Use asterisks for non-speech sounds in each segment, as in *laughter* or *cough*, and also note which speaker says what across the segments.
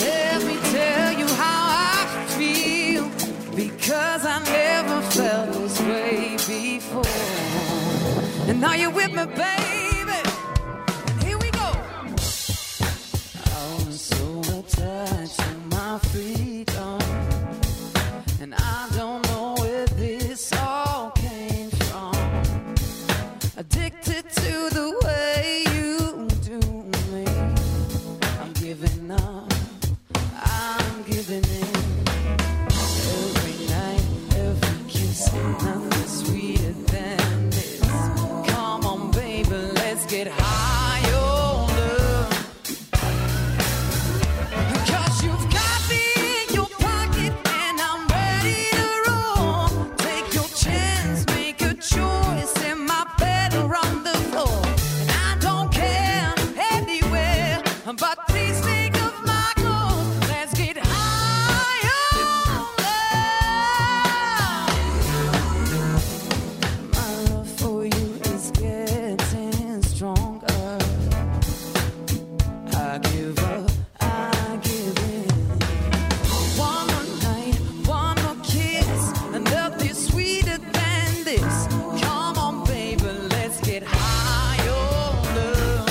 Speaker 1: Let me tell you how I feel because I never felt this way before. And now you're with me, baby. And here we go. Oh, I'm so attached to my freedom, and I don't know where this all came from. Addicted to the way you do me. I'm giving up. I'm giving in. Every night, every kiss, nothing sweeter than this. Come on, baby, let's get high on love. Cause you've got me in your pocket and I'm ready to roll. Take your chance, make a choice in my bed or on the floor. And I don't care anywhere, but please think of my clothes. Let's get higher. My love for you is getting stronger. I give up, I give in. One more night, one more kiss, and nothing sweeter than this. Come on, baby, let's get high on love.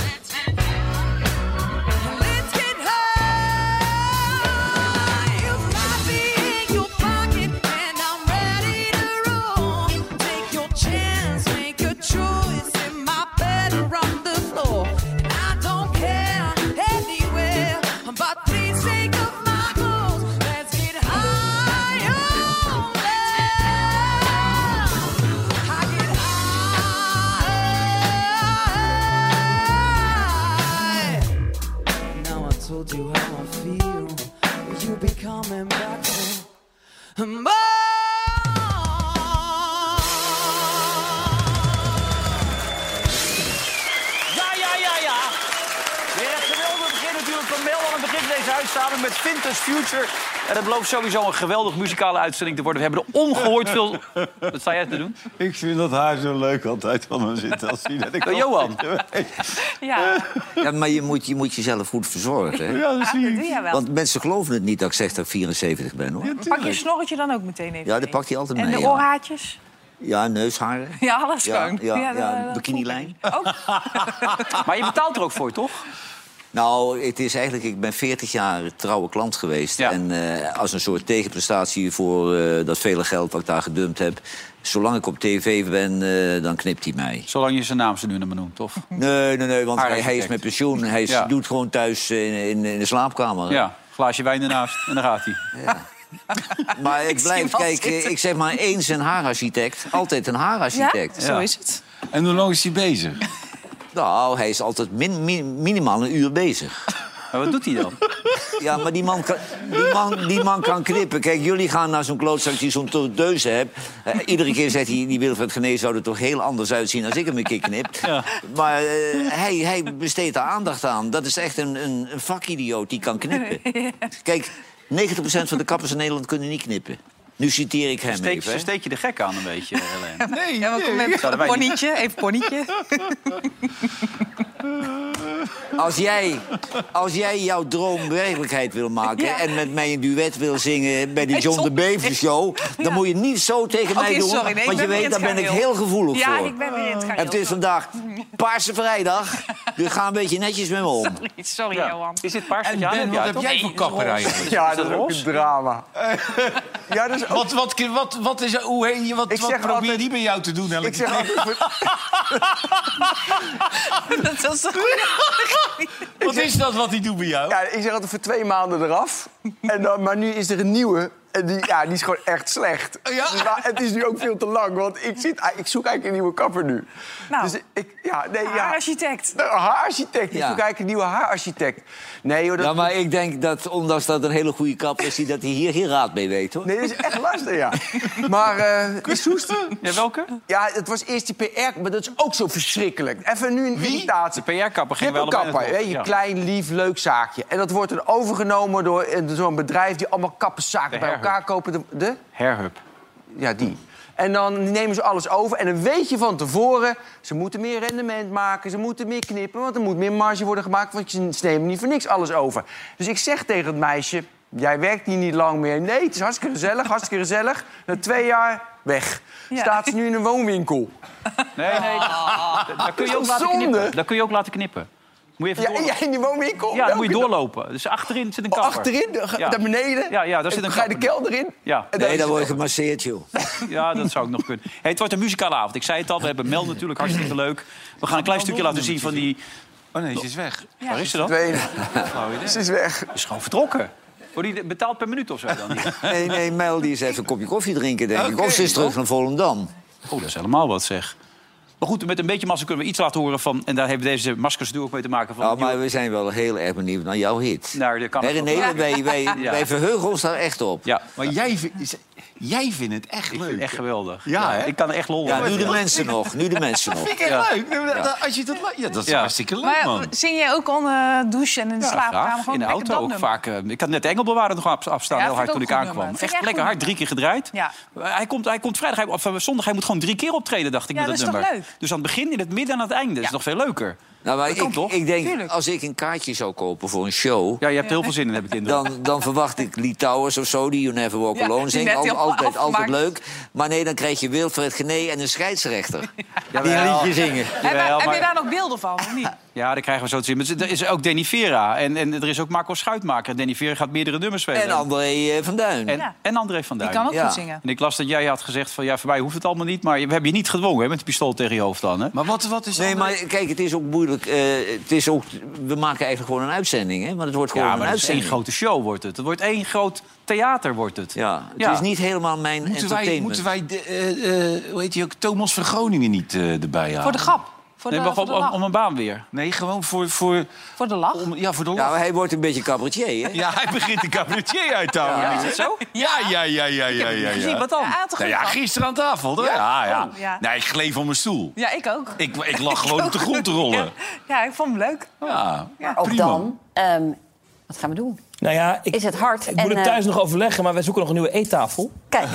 Speaker 1: Let's get high. You've got me in your pocket, and I'm ready to roll. Take your chance, make a choice in my bed or on the floor. I don't care anywhere, but please take off my clothes. Let's get high on love. I get high. Now I told you how I feel. Will you be coming back home?
Speaker 2: Ja, ja, ja, ja. Weer een geweldig begin natuurlijk van Mel aan het begin van deze uitstaande met Vintage Future. En het belooft sowieso een geweldig muzikale uitzending te worden. We hebben er ongehoord veel... Wat sta jij te doen?
Speaker 3: Ik vind dat haar zo leuk altijd aan hem zit als hij dat ik
Speaker 2: Oh, Johan.
Speaker 4: Ja, Ah,
Speaker 5: Ja, maar je moet, je moet jezelf goed verzorgen. Hè?
Speaker 3: Ja, dat zie
Speaker 4: dat doe
Speaker 3: ik.
Speaker 4: jij wel.
Speaker 5: Want mensen geloven het niet dat ik zeg dat ik 74 ben, hoor.
Speaker 4: Pak je snorretje dan ook meteen even
Speaker 5: Ja, dat
Speaker 4: mee.
Speaker 5: pakt hij altijd
Speaker 4: En
Speaker 5: mee,
Speaker 4: de
Speaker 5: ja.
Speaker 4: oorhaartjes?
Speaker 5: Ja, neusharen.
Speaker 4: Ja, alles
Speaker 5: Ja,
Speaker 4: gewoon.
Speaker 5: ja,
Speaker 4: dat-
Speaker 5: ja,
Speaker 4: dat
Speaker 5: bikinilijn.
Speaker 4: voel ik. Ook.
Speaker 2: Maar je betaalt er ook voor, toch?
Speaker 5: Nou, het is eigenlijk, ik ben 40 jaar trouwe klant geweest.
Speaker 2: Ja.
Speaker 5: En eh, als een soort tegenprestatie voor eh, dat vele geld wat ik daar gedumpt heb. Zolang ik op tv ben, eh, dan knipt hij mij.
Speaker 2: Zolang je zijn naam zijn nu nummer noemt, toch?
Speaker 5: Nee, nee, nee, want hij,
Speaker 2: Aardig
Speaker 5: hij is
Speaker 2: gek.
Speaker 5: met pensioen. Hij is-
Speaker 2: Ja.
Speaker 5: doet gewoon thuis in, in, in de slaapkamer.
Speaker 2: Ja, glaasje wijn ernaast en dan gaat hij.
Speaker 5: Maar ik,
Speaker 4: zie hem
Speaker 5: blijf,
Speaker 4: al
Speaker 5: kijk, eh,
Speaker 4: zitten.
Speaker 5: ik zeg maar eens een haararchitect. Altijd een
Speaker 4: Ja?
Speaker 5: haararchitect.
Speaker 4: zo is het.
Speaker 3: En hoe lang is hij bezig?
Speaker 5: Nou, hij is altijd min, min- minimaal een uur bezig.
Speaker 2: Maar wat doet hij dan?
Speaker 5: Ja, maar die man kan, die man, die man kan knippen. Kijk, jullie gaan naar zo'n klootzak die zo'n tondeuze hebt. Eh, iedere keer zegt hij, die Wilfred Genee zou er toch heel anders uitzien... als ik hem een keer knip. Maar eh, hij, hij besteedt daar aandacht aan. Dat is echt een, een, een vakidioot die kan knippen. Kijk, 90% van de kappers in Nederland kunnen niet knippen. Nu citeer ik hem
Speaker 2: Steek,
Speaker 5: even. hè.
Speaker 2: steek je de gek aan een beetje, Helene.
Speaker 3: Nee,
Speaker 4: Ja, we komen
Speaker 3: nee.
Speaker 4: met
Speaker 2: Zouden wij niet-
Speaker 4: ponietje, even
Speaker 5: *laughs*
Speaker 4: ponietje.
Speaker 5: Als jij, als jij jouw droom werkelijkheid wil maken...
Speaker 4: Ja.
Speaker 5: en met mij een duet wil zingen bij de
Speaker 4: Nee,
Speaker 5: John de
Speaker 4: sorry.
Speaker 5: Bever show... dan
Speaker 4: Ja.
Speaker 5: moet je niet zo tegen mij
Speaker 4: Oké,
Speaker 5: doen,
Speaker 4: sorry, nee, ik
Speaker 5: want je
Speaker 4: ben weer
Speaker 5: weet,
Speaker 4: in
Speaker 5: daar
Speaker 4: het
Speaker 5: ben ik
Speaker 4: gareel.
Speaker 5: heel gevoelig
Speaker 4: Ja,
Speaker 5: voor.
Speaker 4: ik ben weer in het gareel.
Speaker 5: het is vandaag Paarse Vrijdag, dus ga een beetje netjes met me om.
Speaker 4: *laughs* Sorry, sorry
Speaker 2: Ja.
Speaker 4: Johan.
Speaker 2: *laughs* Is dit paars?
Speaker 6: En
Speaker 2: Ja,
Speaker 6: Ben,
Speaker 2: dat
Speaker 6: wat
Speaker 2: jij
Speaker 6: heb
Speaker 2: toch?
Speaker 6: jij voor kapper eigenlijk?
Speaker 2: Ja, dat is roze.
Speaker 7: drama. ja, dus ook,
Speaker 6: Wat, *laughs* wat, wat, wat, is, hoe heet je- wat,
Speaker 7: Ik
Speaker 6: wat
Speaker 7: zeg
Speaker 6: probeer
Speaker 7: altijd-
Speaker 6: die bij jou te doen,
Speaker 7: ik
Speaker 6: Elke
Speaker 7: zeg altijd, voor-
Speaker 4: *laughs* Dat was een goeie.
Speaker 6: Wat is dat wat hij doet bij jou?
Speaker 7: ja, ik zeg altijd voor twee maanden eraf. En dan, maar nu is er een nieuwe En die, ja, die is gewoon echt slecht.
Speaker 6: Ja?
Speaker 7: Dus, maar het is nu ook veel te lang, want ik, zit, ah, ik zoek eigenlijk een nieuwe kapper nu.
Speaker 4: Nou.
Speaker 7: dus ik, ja,
Speaker 4: *laughs*
Speaker 7: nee, ja.
Speaker 4: Haararchitect.
Speaker 7: Nou, haararchitect. Ik
Speaker 5: Ja.
Speaker 7: zoek eigenlijk een nieuwe haararchitect. Nee, joh, dat,
Speaker 5: Ja, maar ik denk dat, ondanks dat het een hele goede kap is... die- dat hij hier geen raad mee weet, hoor.
Speaker 7: nee, dat is echt lastig, ja. Maar eh,
Speaker 2: Ja, welke?
Speaker 7: ja, het was eerst die PR, maar dat is ook zo verschrikkelijk. Even nu een irritatie.
Speaker 2: De PR-kapper ging wel
Speaker 7: Kippelkapper, hè, je klein, lief, leuk zaakje. En dat wordt dan overgenomen door eh, zo'n bedrijf... die allemaal kapperszaken
Speaker 2: De
Speaker 7: bij
Speaker 2: Herhub.
Speaker 7: elkaar kopen. De, de?
Speaker 2: Herhub.
Speaker 7: Ja, die. En dan nemen ze alles over. En dan weet je van tevoren, ze moeten meer rendement maken. Ze moeten meer knippen, want er moet meer marge worden gemaakt. Want ze ze nemen niet voor niks alles over. Dus ik zeg tegen het meisje, jij werkt hier niet lang meer. Nee, het is hartstikke gezellig, hartstikke gezellig. Na twee jaar, weg.
Speaker 4: Ja.
Speaker 7: Staat ze nu in een woonwinkel.
Speaker 2: Nee, nee. Ah. dat- Daar kun je ook
Speaker 7: is
Speaker 2: laten
Speaker 7: zonde.
Speaker 2: knippen. Daar kun je ook laten knippen. Moet je even
Speaker 7: Ja,
Speaker 2: doorlopen.
Speaker 7: ja, in die woonwinkel.
Speaker 2: Ja, dan moet je
Speaker 7: Oh, Welke- Oh,
Speaker 2: doorlopen. Dus achterin zit een kapper.
Speaker 7: Achterin, de-
Speaker 2: Ja.
Speaker 7: naar beneden.
Speaker 2: Ja, ja, daar
Speaker 7: En
Speaker 2: zit een
Speaker 7: dan ga je de
Speaker 2: kapper.
Speaker 7: kelder in.
Speaker 2: Ja.
Speaker 7: En
Speaker 5: Nee,
Speaker 7: is
Speaker 5: dan
Speaker 7: het-
Speaker 5: word je gemasseerd, joh.
Speaker 2: Ja, dat zou ik nog kunnen. Hey, het wordt een muzikale avond. Ik zei het al, we hebben Mel natuurlijk hartstikke leuk. We gaan een klein stukje laten zien van die...
Speaker 6: Oh nee, ze is weg.
Speaker 2: Waar is ze dan?
Speaker 6: *laughs*
Speaker 7: Twee.
Speaker 6: Flauw idee.
Speaker 7: Ze is weg.
Speaker 2: Is gewoon vertrokken. Wordt die betaald per minuut of zo dan? *laughs*
Speaker 5: Nee, nee, Mel die is even een kopje koffie drinken, denk ik. Of ze is terug naar Volendam.
Speaker 2: Oh, dat is helemaal wat zeg. Maar goed, met een beetje masker kunnen we iets laten horen van... en daar hebben deze maskers natuurlijk ook mee te maken van...
Speaker 5: Nou, maar we zijn wel heel erg benieuwd naar jouw hit.
Speaker 2: Naar de
Speaker 5: Hè,
Speaker 2: Canada.
Speaker 5: René, wij, wij,
Speaker 2: *laughs* Ja.
Speaker 5: wij verheugen ons daar echt op.
Speaker 2: Ja,
Speaker 6: Maar jij, vindt- jij vindt het echt leuk.
Speaker 2: echt geweldig.
Speaker 6: Ja, hè?
Speaker 2: Ik kan er echt lol
Speaker 5: Ja,
Speaker 2: hebben.
Speaker 5: nu de mensen nog, nu de mensen nog.
Speaker 6: Vind ik echt leuk. Nee, maar dat- Als je dat, leuk- ja, dat is
Speaker 2: Ja.
Speaker 6: hartstikke leuk,
Speaker 4: Maar
Speaker 6: man.
Speaker 4: zing jij ook onder de douche en in de slaapkamer?
Speaker 2: Graag.
Speaker 4: Gewoon
Speaker 2: In de
Speaker 4: lekker
Speaker 2: auto ook
Speaker 4: dat nummer.
Speaker 2: vaak. eh, ik had net Engelbewaarder nog af- afstaan,
Speaker 4: Ja,
Speaker 2: heel hard
Speaker 4: vind ik
Speaker 2: toen
Speaker 4: ook
Speaker 2: ik
Speaker 4: goed
Speaker 2: aankwam.
Speaker 4: nummer.
Speaker 2: Echt
Speaker 4: Vind ik echt
Speaker 2: lekker hard,
Speaker 4: goed
Speaker 2: drie keer gedraaid.
Speaker 4: Ja.
Speaker 2: Eh, Hij, komt, hij komt vrijdag, hij- of eh, zondag, hij moet gewoon drie keer optreden, dacht ik,
Speaker 4: Ja,
Speaker 2: met dat,
Speaker 4: dat is toch
Speaker 2: nummer.
Speaker 4: leuk?
Speaker 2: Dus aan het begin, in het midden en aan het einde. Dat is nog veel leuker.
Speaker 5: Nou, maar
Speaker 2: kan
Speaker 5: ik,
Speaker 2: toch?
Speaker 5: ik denk,
Speaker 4: Tuurlijk.
Speaker 5: als ik een kaartje zou kopen voor een show...
Speaker 2: Ja, je hebt er heel veel zin in, heb ik de
Speaker 6: *laughs*
Speaker 2: indruk.
Speaker 5: Dan, dan verwacht ik Lee Towers of zo, die You Never Walk
Speaker 4: Ja,
Speaker 5: Alone
Speaker 4: die
Speaker 5: zingt.
Speaker 4: net
Speaker 5: Al-
Speaker 4: helemaal
Speaker 5: altijd, altijd
Speaker 4: afgemaakt.
Speaker 5: leuk. Maar nee, dan krijg je Wilfred Gené en een
Speaker 2: *laughs*
Speaker 5: scheidsrechter. Die een liedje zingen.
Speaker 4: Heb,
Speaker 2: Jawel,
Speaker 4: heb
Speaker 2: maar-
Speaker 4: je daar nog beelden van, of
Speaker 5: *laughs*
Speaker 4: niet?
Speaker 2: Ja, daar krijgen we zo te zien. Maar er is ook Danny Vera en, en er is ook Marco Schuitmaker. Danny Vera gaat meerdere nummers spelen.
Speaker 5: En André eh, van Duin.
Speaker 2: en,
Speaker 4: Ja.
Speaker 2: en André van
Speaker 4: Die
Speaker 2: Duin.
Speaker 4: kan ook
Speaker 5: Ja.
Speaker 4: goed zingen.
Speaker 2: En ik las dat jij had gezegd van ja, voor mij hoeft het allemaal niet. Maar we hebben je niet gedwongen hè, met een pistool tegen je hoofd dan. Hè?
Speaker 6: Maar wat, wat is
Speaker 5: Nee,
Speaker 6: André-
Speaker 5: maar kijk, het is ook moeilijk. eh, het is ook, we maken eigenlijk gewoon een uitzending, hè? Want het wordt gewoon
Speaker 2: ja,
Speaker 5: een
Speaker 2: maar het is één
Speaker 5: uitzending.
Speaker 2: grote show wordt het. Het wordt één groot theater wordt het.
Speaker 5: Ja, het is niet helemaal mijn
Speaker 6: Moeten wij,
Speaker 5: entertainment.
Speaker 6: moeten wij de, eh, eh, hoe heet hij ook, Thomas van Groningen niet eh, erbij halen?
Speaker 4: Voor de grap. Voor de,
Speaker 2: Nee, maar
Speaker 4: voor
Speaker 2: gewoon
Speaker 4: de
Speaker 2: om,
Speaker 4: lach.
Speaker 2: om een baan weer.
Speaker 6: Nee, gewoon voor, voor,
Speaker 4: Voor de lach.
Speaker 6: om- ja, voor de
Speaker 5: Ja,
Speaker 6: lach.
Speaker 5: maar hij wordt een beetje cabaretier, hè?
Speaker 6: Ja, hij begint de cabaretier
Speaker 2: *laughs*
Speaker 6: uit te houden.
Speaker 2: Is het zo?
Speaker 6: Ja, ja, ja, ja, ja, ja.
Speaker 2: Zie,
Speaker 6: ja.
Speaker 2: wat dan?
Speaker 4: Ja, aan te
Speaker 6: Nou ja,
Speaker 4: gaan.
Speaker 6: gisteren aan tafel, toch? Ja, ja.
Speaker 4: Oh, ja.
Speaker 6: Nee, ik gleef op mijn stoel.
Speaker 4: Ja, ik ook.
Speaker 6: Ik, ik lag gewoon op de
Speaker 4: *laughs*
Speaker 6: grond te rollen.
Speaker 4: Ja, ik vond hem leuk.
Speaker 6: Ja,
Speaker 8: Ook
Speaker 6: prima.
Speaker 8: dan. ehm, wat gaan we doen?
Speaker 9: Nou ja, ik,
Speaker 8: Is het hard?
Speaker 9: ik moet
Speaker 8: En,
Speaker 9: het thuis
Speaker 8: eh,
Speaker 9: nog overleggen, maar wij zoeken nog een nieuwe eettafel.
Speaker 8: Kijk,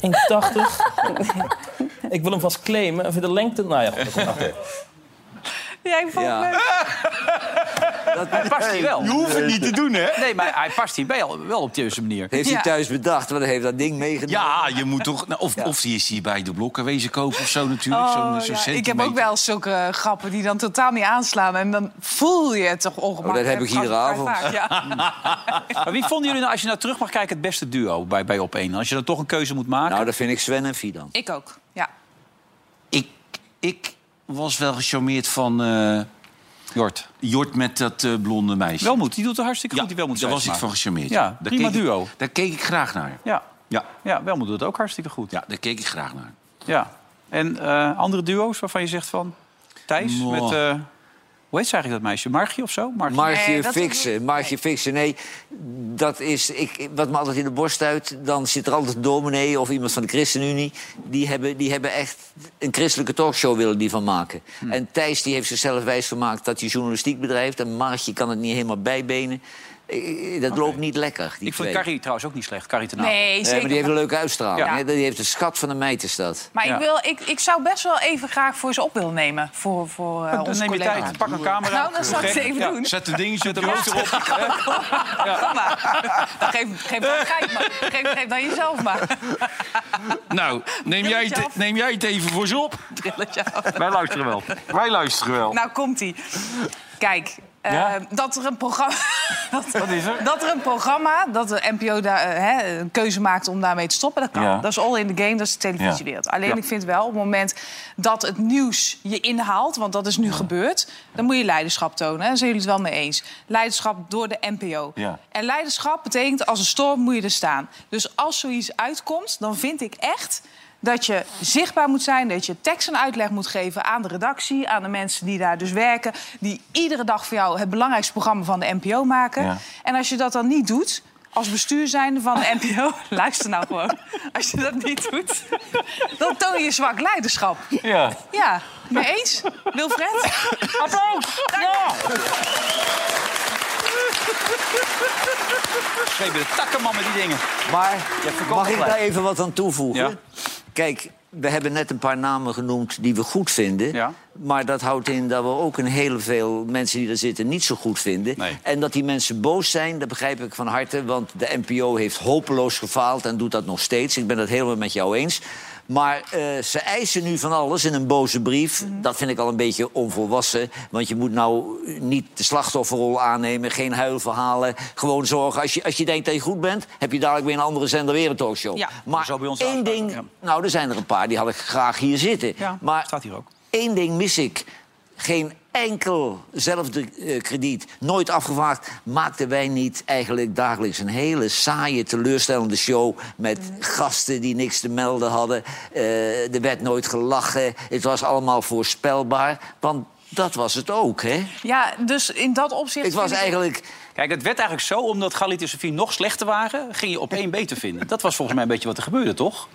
Speaker 9: 180. ik wil hem vast claimen. Of de lengte, nou ja, goed, dat komt wel.
Speaker 4: Ja, ik vond
Speaker 5: Ja.
Speaker 4: hem leuk.
Speaker 2: Hij past hier wel.
Speaker 6: Je hoeft het niet te doen, hè?
Speaker 2: Nee, maar hij past hier wel, wel op deze manier.
Speaker 5: Heeft hij
Speaker 4: Ja.
Speaker 5: thuis bedacht, want hij heeft dat ding meegenomen.
Speaker 6: Ja, je moet toch... nou, of, of die is hier bij de blokken wezen kopen of zo natuurlijk.
Speaker 4: Oh,
Speaker 6: zo'n
Speaker 4: ja.
Speaker 6: zo'n
Speaker 4: Ik heb
Speaker 6: centimeter.
Speaker 4: ook wel zulke eh, grappen die dan totaal niet aanslaan. En dan voel je het toch ongemakkelijk.
Speaker 5: Oh, dat heb ik
Speaker 4: gewoon
Speaker 5: iedere avond.
Speaker 4: vaak, Ja.
Speaker 5: *laughs*
Speaker 2: Maar wie vonden jullie nou, als je naar terug mag kijken, het beste duo bij, bij Op1? Als je dan toch een keuze moet maken.
Speaker 5: Nou, dat vind ik Sven en Fidan.
Speaker 4: Ik ook, ja.
Speaker 6: Ik, ik was wel gecharmeerd van eh,
Speaker 2: Jort.
Speaker 6: Jort met dat eh, blonde meisje.
Speaker 2: Welmoed, die doet er hartstikke
Speaker 6: ja,
Speaker 2: goed. Die Welmoed
Speaker 6: daar was ik
Speaker 2: Schuitmaker.
Speaker 6: van gecharmeerd.
Speaker 2: Ja,
Speaker 6: daar
Speaker 2: prima
Speaker 6: keek ik-
Speaker 2: duo.
Speaker 6: daar keek ik graag naar.
Speaker 2: Ja.
Speaker 6: Ja,
Speaker 2: ja, Welmoed doet het ook hartstikke goed.
Speaker 6: ja, daar keek ik graag naar.
Speaker 2: Ja. En eh, andere duo's waarvan je zegt van... Thijs
Speaker 6: Mwah.
Speaker 2: met... eh, hoe heet ze eigenlijk dat meisje? Margie of zo? Margie.
Speaker 5: Margje
Speaker 4: Nee, dat is
Speaker 5: fixen,
Speaker 4: niet-
Speaker 5: Margje fixen. Nee, dat is ik, wat me altijd in de borst uit. Dan zit er altijd een dominee of iemand van de ChristenUnie. Die hebben, die hebben echt een christelijke talkshow willen die van maken. En Thijs die heeft zichzelf wijsgemaakt dat hij journalistiek bedrijft. En Margje kan het niet helemaal bijbenen. Eh, Dat loopt niet lekker, die
Speaker 2: Ik vond
Speaker 5: twee.
Speaker 2: Carrie trouwens ook niet slecht. Carrie ten Apel.
Speaker 4: Nee,
Speaker 5: Nee,
Speaker 4: zeker.
Speaker 5: Eh, maar die heeft een leuke uitstraling.
Speaker 4: Ja.
Speaker 5: hè. Die heeft een schat van de meid, is dat.
Speaker 4: Maar
Speaker 2: Ja.
Speaker 4: ik, wil, ik, ik zou best wel even graag voor ze op willen nemen. Voor, voor eh
Speaker 2: Dan
Speaker 4: onze
Speaker 2: dus neem je
Speaker 4: collega.
Speaker 2: tijd. Pak een camera.
Speaker 4: Nou, dan zal ik het even
Speaker 2: Ja.
Speaker 4: doen.
Speaker 6: Zet de dingetje op de
Speaker 2: Ja.
Speaker 6: rooster op.
Speaker 4: Kom maar. *laughs* Dan geef, geef, dan Gijs maar. Geef, geef dan jezelf maar.
Speaker 6: Nou, neem jij,
Speaker 4: Brilletje
Speaker 6: het,
Speaker 4: af.
Speaker 6: neem jij het even voor ze op.
Speaker 4: Brilletje af.
Speaker 6: Wij luisteren wel. Wij luisteren wel.
Speaker 4: Nou, komt-ie. Kijk, eh,
Speaker 2: Ja?
Speaker 4: dat er een programma... *laughs* dat,
Speaker 2: Wat is er?
Speaker 4: dat er een programma, dat de NPO daar, eh, hè, een keuze maakt om daarmee te stoppen, dat kan.
Speaker 2: Ja.
Speaker 4: Dat is all in the game, dat is de televisiewereld.
Speaker 2: Ja.
Speaker 4: Alleen
Speaker 2: Ja.
Speaker 4: ik vind wel, op het moment dat het nieuws je inhaalt... want dat is nu gebeurd, dan moet je leiderschap tonen. Hè? Daar zijn jullie het wel mee eens. Leiderschap door de NPO.
Speaker 6: Ja.
Speaker 4: En leiderschap betekent als een storm moet je er staan. Dus als zoiets uitkomt, dan vind ik echt dat je zichtbaar moet zijn, dat je tekst en uitleg moet geven aan de redactie, aan de mensen die daar dus werken, die iedere dag voor jou het belangrijkste programma van de NPO maken.
Speaker 6: Ja.
Speaker 4: En als je dat dan niet doet, als bestuur zijnde van de NPO, *laughs* luister nou gewoon. Als je dat niet doet, dan toon je zwak leiderschap.
Speaker 2: Ja.
Speaker 4: Ja, mee eens? Wilfred?
Speaker 2: Applaus! Ja! Schreef de takkenman met die dingen.
Speaker 5: Maar
Speaker 2: Je verkoopt
Speaker 5: mag ik
Speaker 2: gelijk.
Speaker 5: daar even wat aan toevoegen?
Speaker 2: Ja.
Speaker 5: Kijk, we hebben net een paar namen genoemd die we goed vinden.
Speaker 2: Ja.
Speaker 5: Maar dat houdt in dat we ook een heel veel mensen die er zitten niet zo goed vinden.
Speaker 2: Nee.
Speaker 5: En dat die mensen boos zijn, dat begrijp ik van harte. Want de NPO heeft hopeloos gefaald en doet dat nog steeds. Ik ben het helemaal met jou eens. Maar eh, ze eisen nu van alles in een boze brief.
Speaker 2: Mhm.
Speaker 5: Dat vind ik al een beetje onvolwassen. Want je moet nou niet de slachtofferrol aannemen. Geen huilverhalen. Gewoon zorgen. Als je, als je denkt dat je goed bent, heb je dadelijk weer een andere zender weer een talkshow.
Speaker 4: Ja.
Speaker 5: Maar
Speaker 2: Zo bij ons
Speaker 5: één
Speaker 2: afspraken,
Speaker 5: ding...
Speaker 2: ja.
Speaker 5: Nou, er zijn er een paar. Die had ik graag hier zitten.
Speaker 2: Ja,
Speaker 5: maar
Speaker 2: staat hier ook.
Speaker 5: Eén ding mis ik. Geen enkel zelfde eh, krediet. Nooit afgevraagd. Maakten wij niet eigenlijk dagelijks een hele saaie, teleurstellende show... met
Speaker 2: Mm.
Speaker 5: gasten die niks te melden hadden. Eh, er werd nooit gelachen. Het was allemaal voorspelbaar. Want dat was het ook, hè?
Speaker 4: Ja, dus in dat opzicht...
Speaker 5: Het was
Speaker 4: vind ik-
Speaker 5: eigenlijk...
Speaker 2: Kijk, het werd eigenlijk zo, omdat Galit en Sofie nog slechter waren... ging je op één beter vinden. Dat was volgens mij een beetje wat er gebeurde, toch?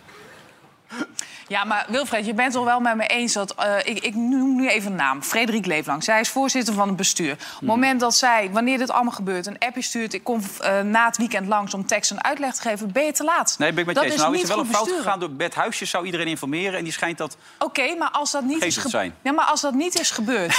Speaker 4: Ja, maar Wilfred, je bent het al wel met me eens dat... eh, ik, ik noem nu even een naam. Frederik Leeflang. Zij is voorzitter van het bestuur. Op
Speaker 2: Mhm.
Speaker 4: het moment dat zij, wanneer dit allemaal gebeurt... een appje stuurt, ik kom eh, na het weekend langs om tekst en uitleg te geven... ben je te laat.
Speaker 2: Nee, ben ik met
Speaker 4: dat
Speaker 2: je eens.
Speaker 4: is
Speaker 2: Nou is
Speaker 4: niet
Speaker 2: er wel een
Speaker 4: goed
Speaker 2: fout
Speaker 4: besturen.
Speaker 2: gegaan door Bert Huisjes... zou iedereen informeren en die schijnt dat...
Speaker 4: Oké, maar als dat niet is
Speaker 2: Geestig
Speaker 4: gebeurd...
Speaker 2: zijn.
Speaker 4: Ja, maar als dat niet is gebeurd...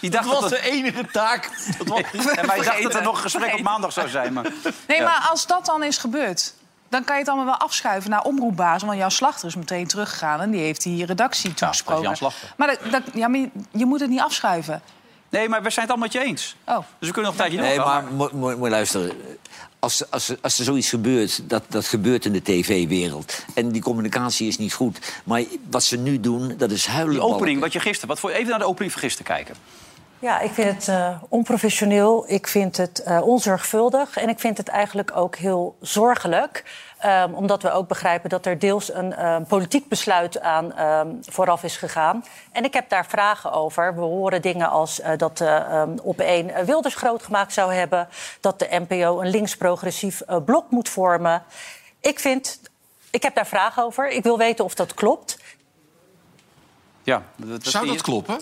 Speaker 2: Die dacht dat, het-
Speaker 6: enige taak. *laughs*
Speaker 2: Ja, maar je dacht dat er
Speaker 4: vergeten.
Speaker 2: nog een gesprek op maandag zou zijn. Maar...
Speaker 4: Nee,
Speaker 2: Ja.
Speaker 4: maar als dat dan is gebeurd... dan kan je het allemaal wel afschuiven naar omroepbaas. Want Jan Slachter is meteen teruggegaan... en die heeft die redactie toegesproken.
Speaker 2: dat is Jan Slachter.
Speaker 4: Maar, dat, dat- ja, maar je, je moet het niet afschuiven.
Speaker 2: Nee, maar we zijn het allemaal met je eens.
Speaker 4: Oh.
Speaker 2: Dus we kunnen nog een tijdje
Speaker 5: Nee,
Speaker 2: doorgaan,
Speaker 5: maar moet moet- moet je luisteren. Als, als, als er zoiets gebeurt, dat, dat gebeurt in de tv-wereld. En die communicatie is niet goed. Maar wat ze nu doen, dat is huilen.
Speaker 2: Die opening, wat je gisteren... Wat voor, even naar de opening van gisteren kijken.
Speaker 10: Ja, ik vind het eh, onprofessioneel, ik vind het eh, onzorgvuldig en ik vind het eigenlijk ook heel zorgelijk. Ehm, omdat we ook begrijpen dat er deels een ehm, politiek besluit aan ehm, vooraf is gegaan. En ik heb daar vragen over. We horen dingen als eh, dat eh, ehm, op één eh, Wilders groot gemaakt zou hebben, dat de NPO een links-progressief eh, blok moet vormen. Ik vind, ik heb daar vragen over. Ik wil weten of dat klopt.
Speaker 2: Ja, dat, dat
Speaker 6: Zou
Speaker 2: zie
Speaker 6: dat
Speaker 2: je.
Speaker 6: kloppen?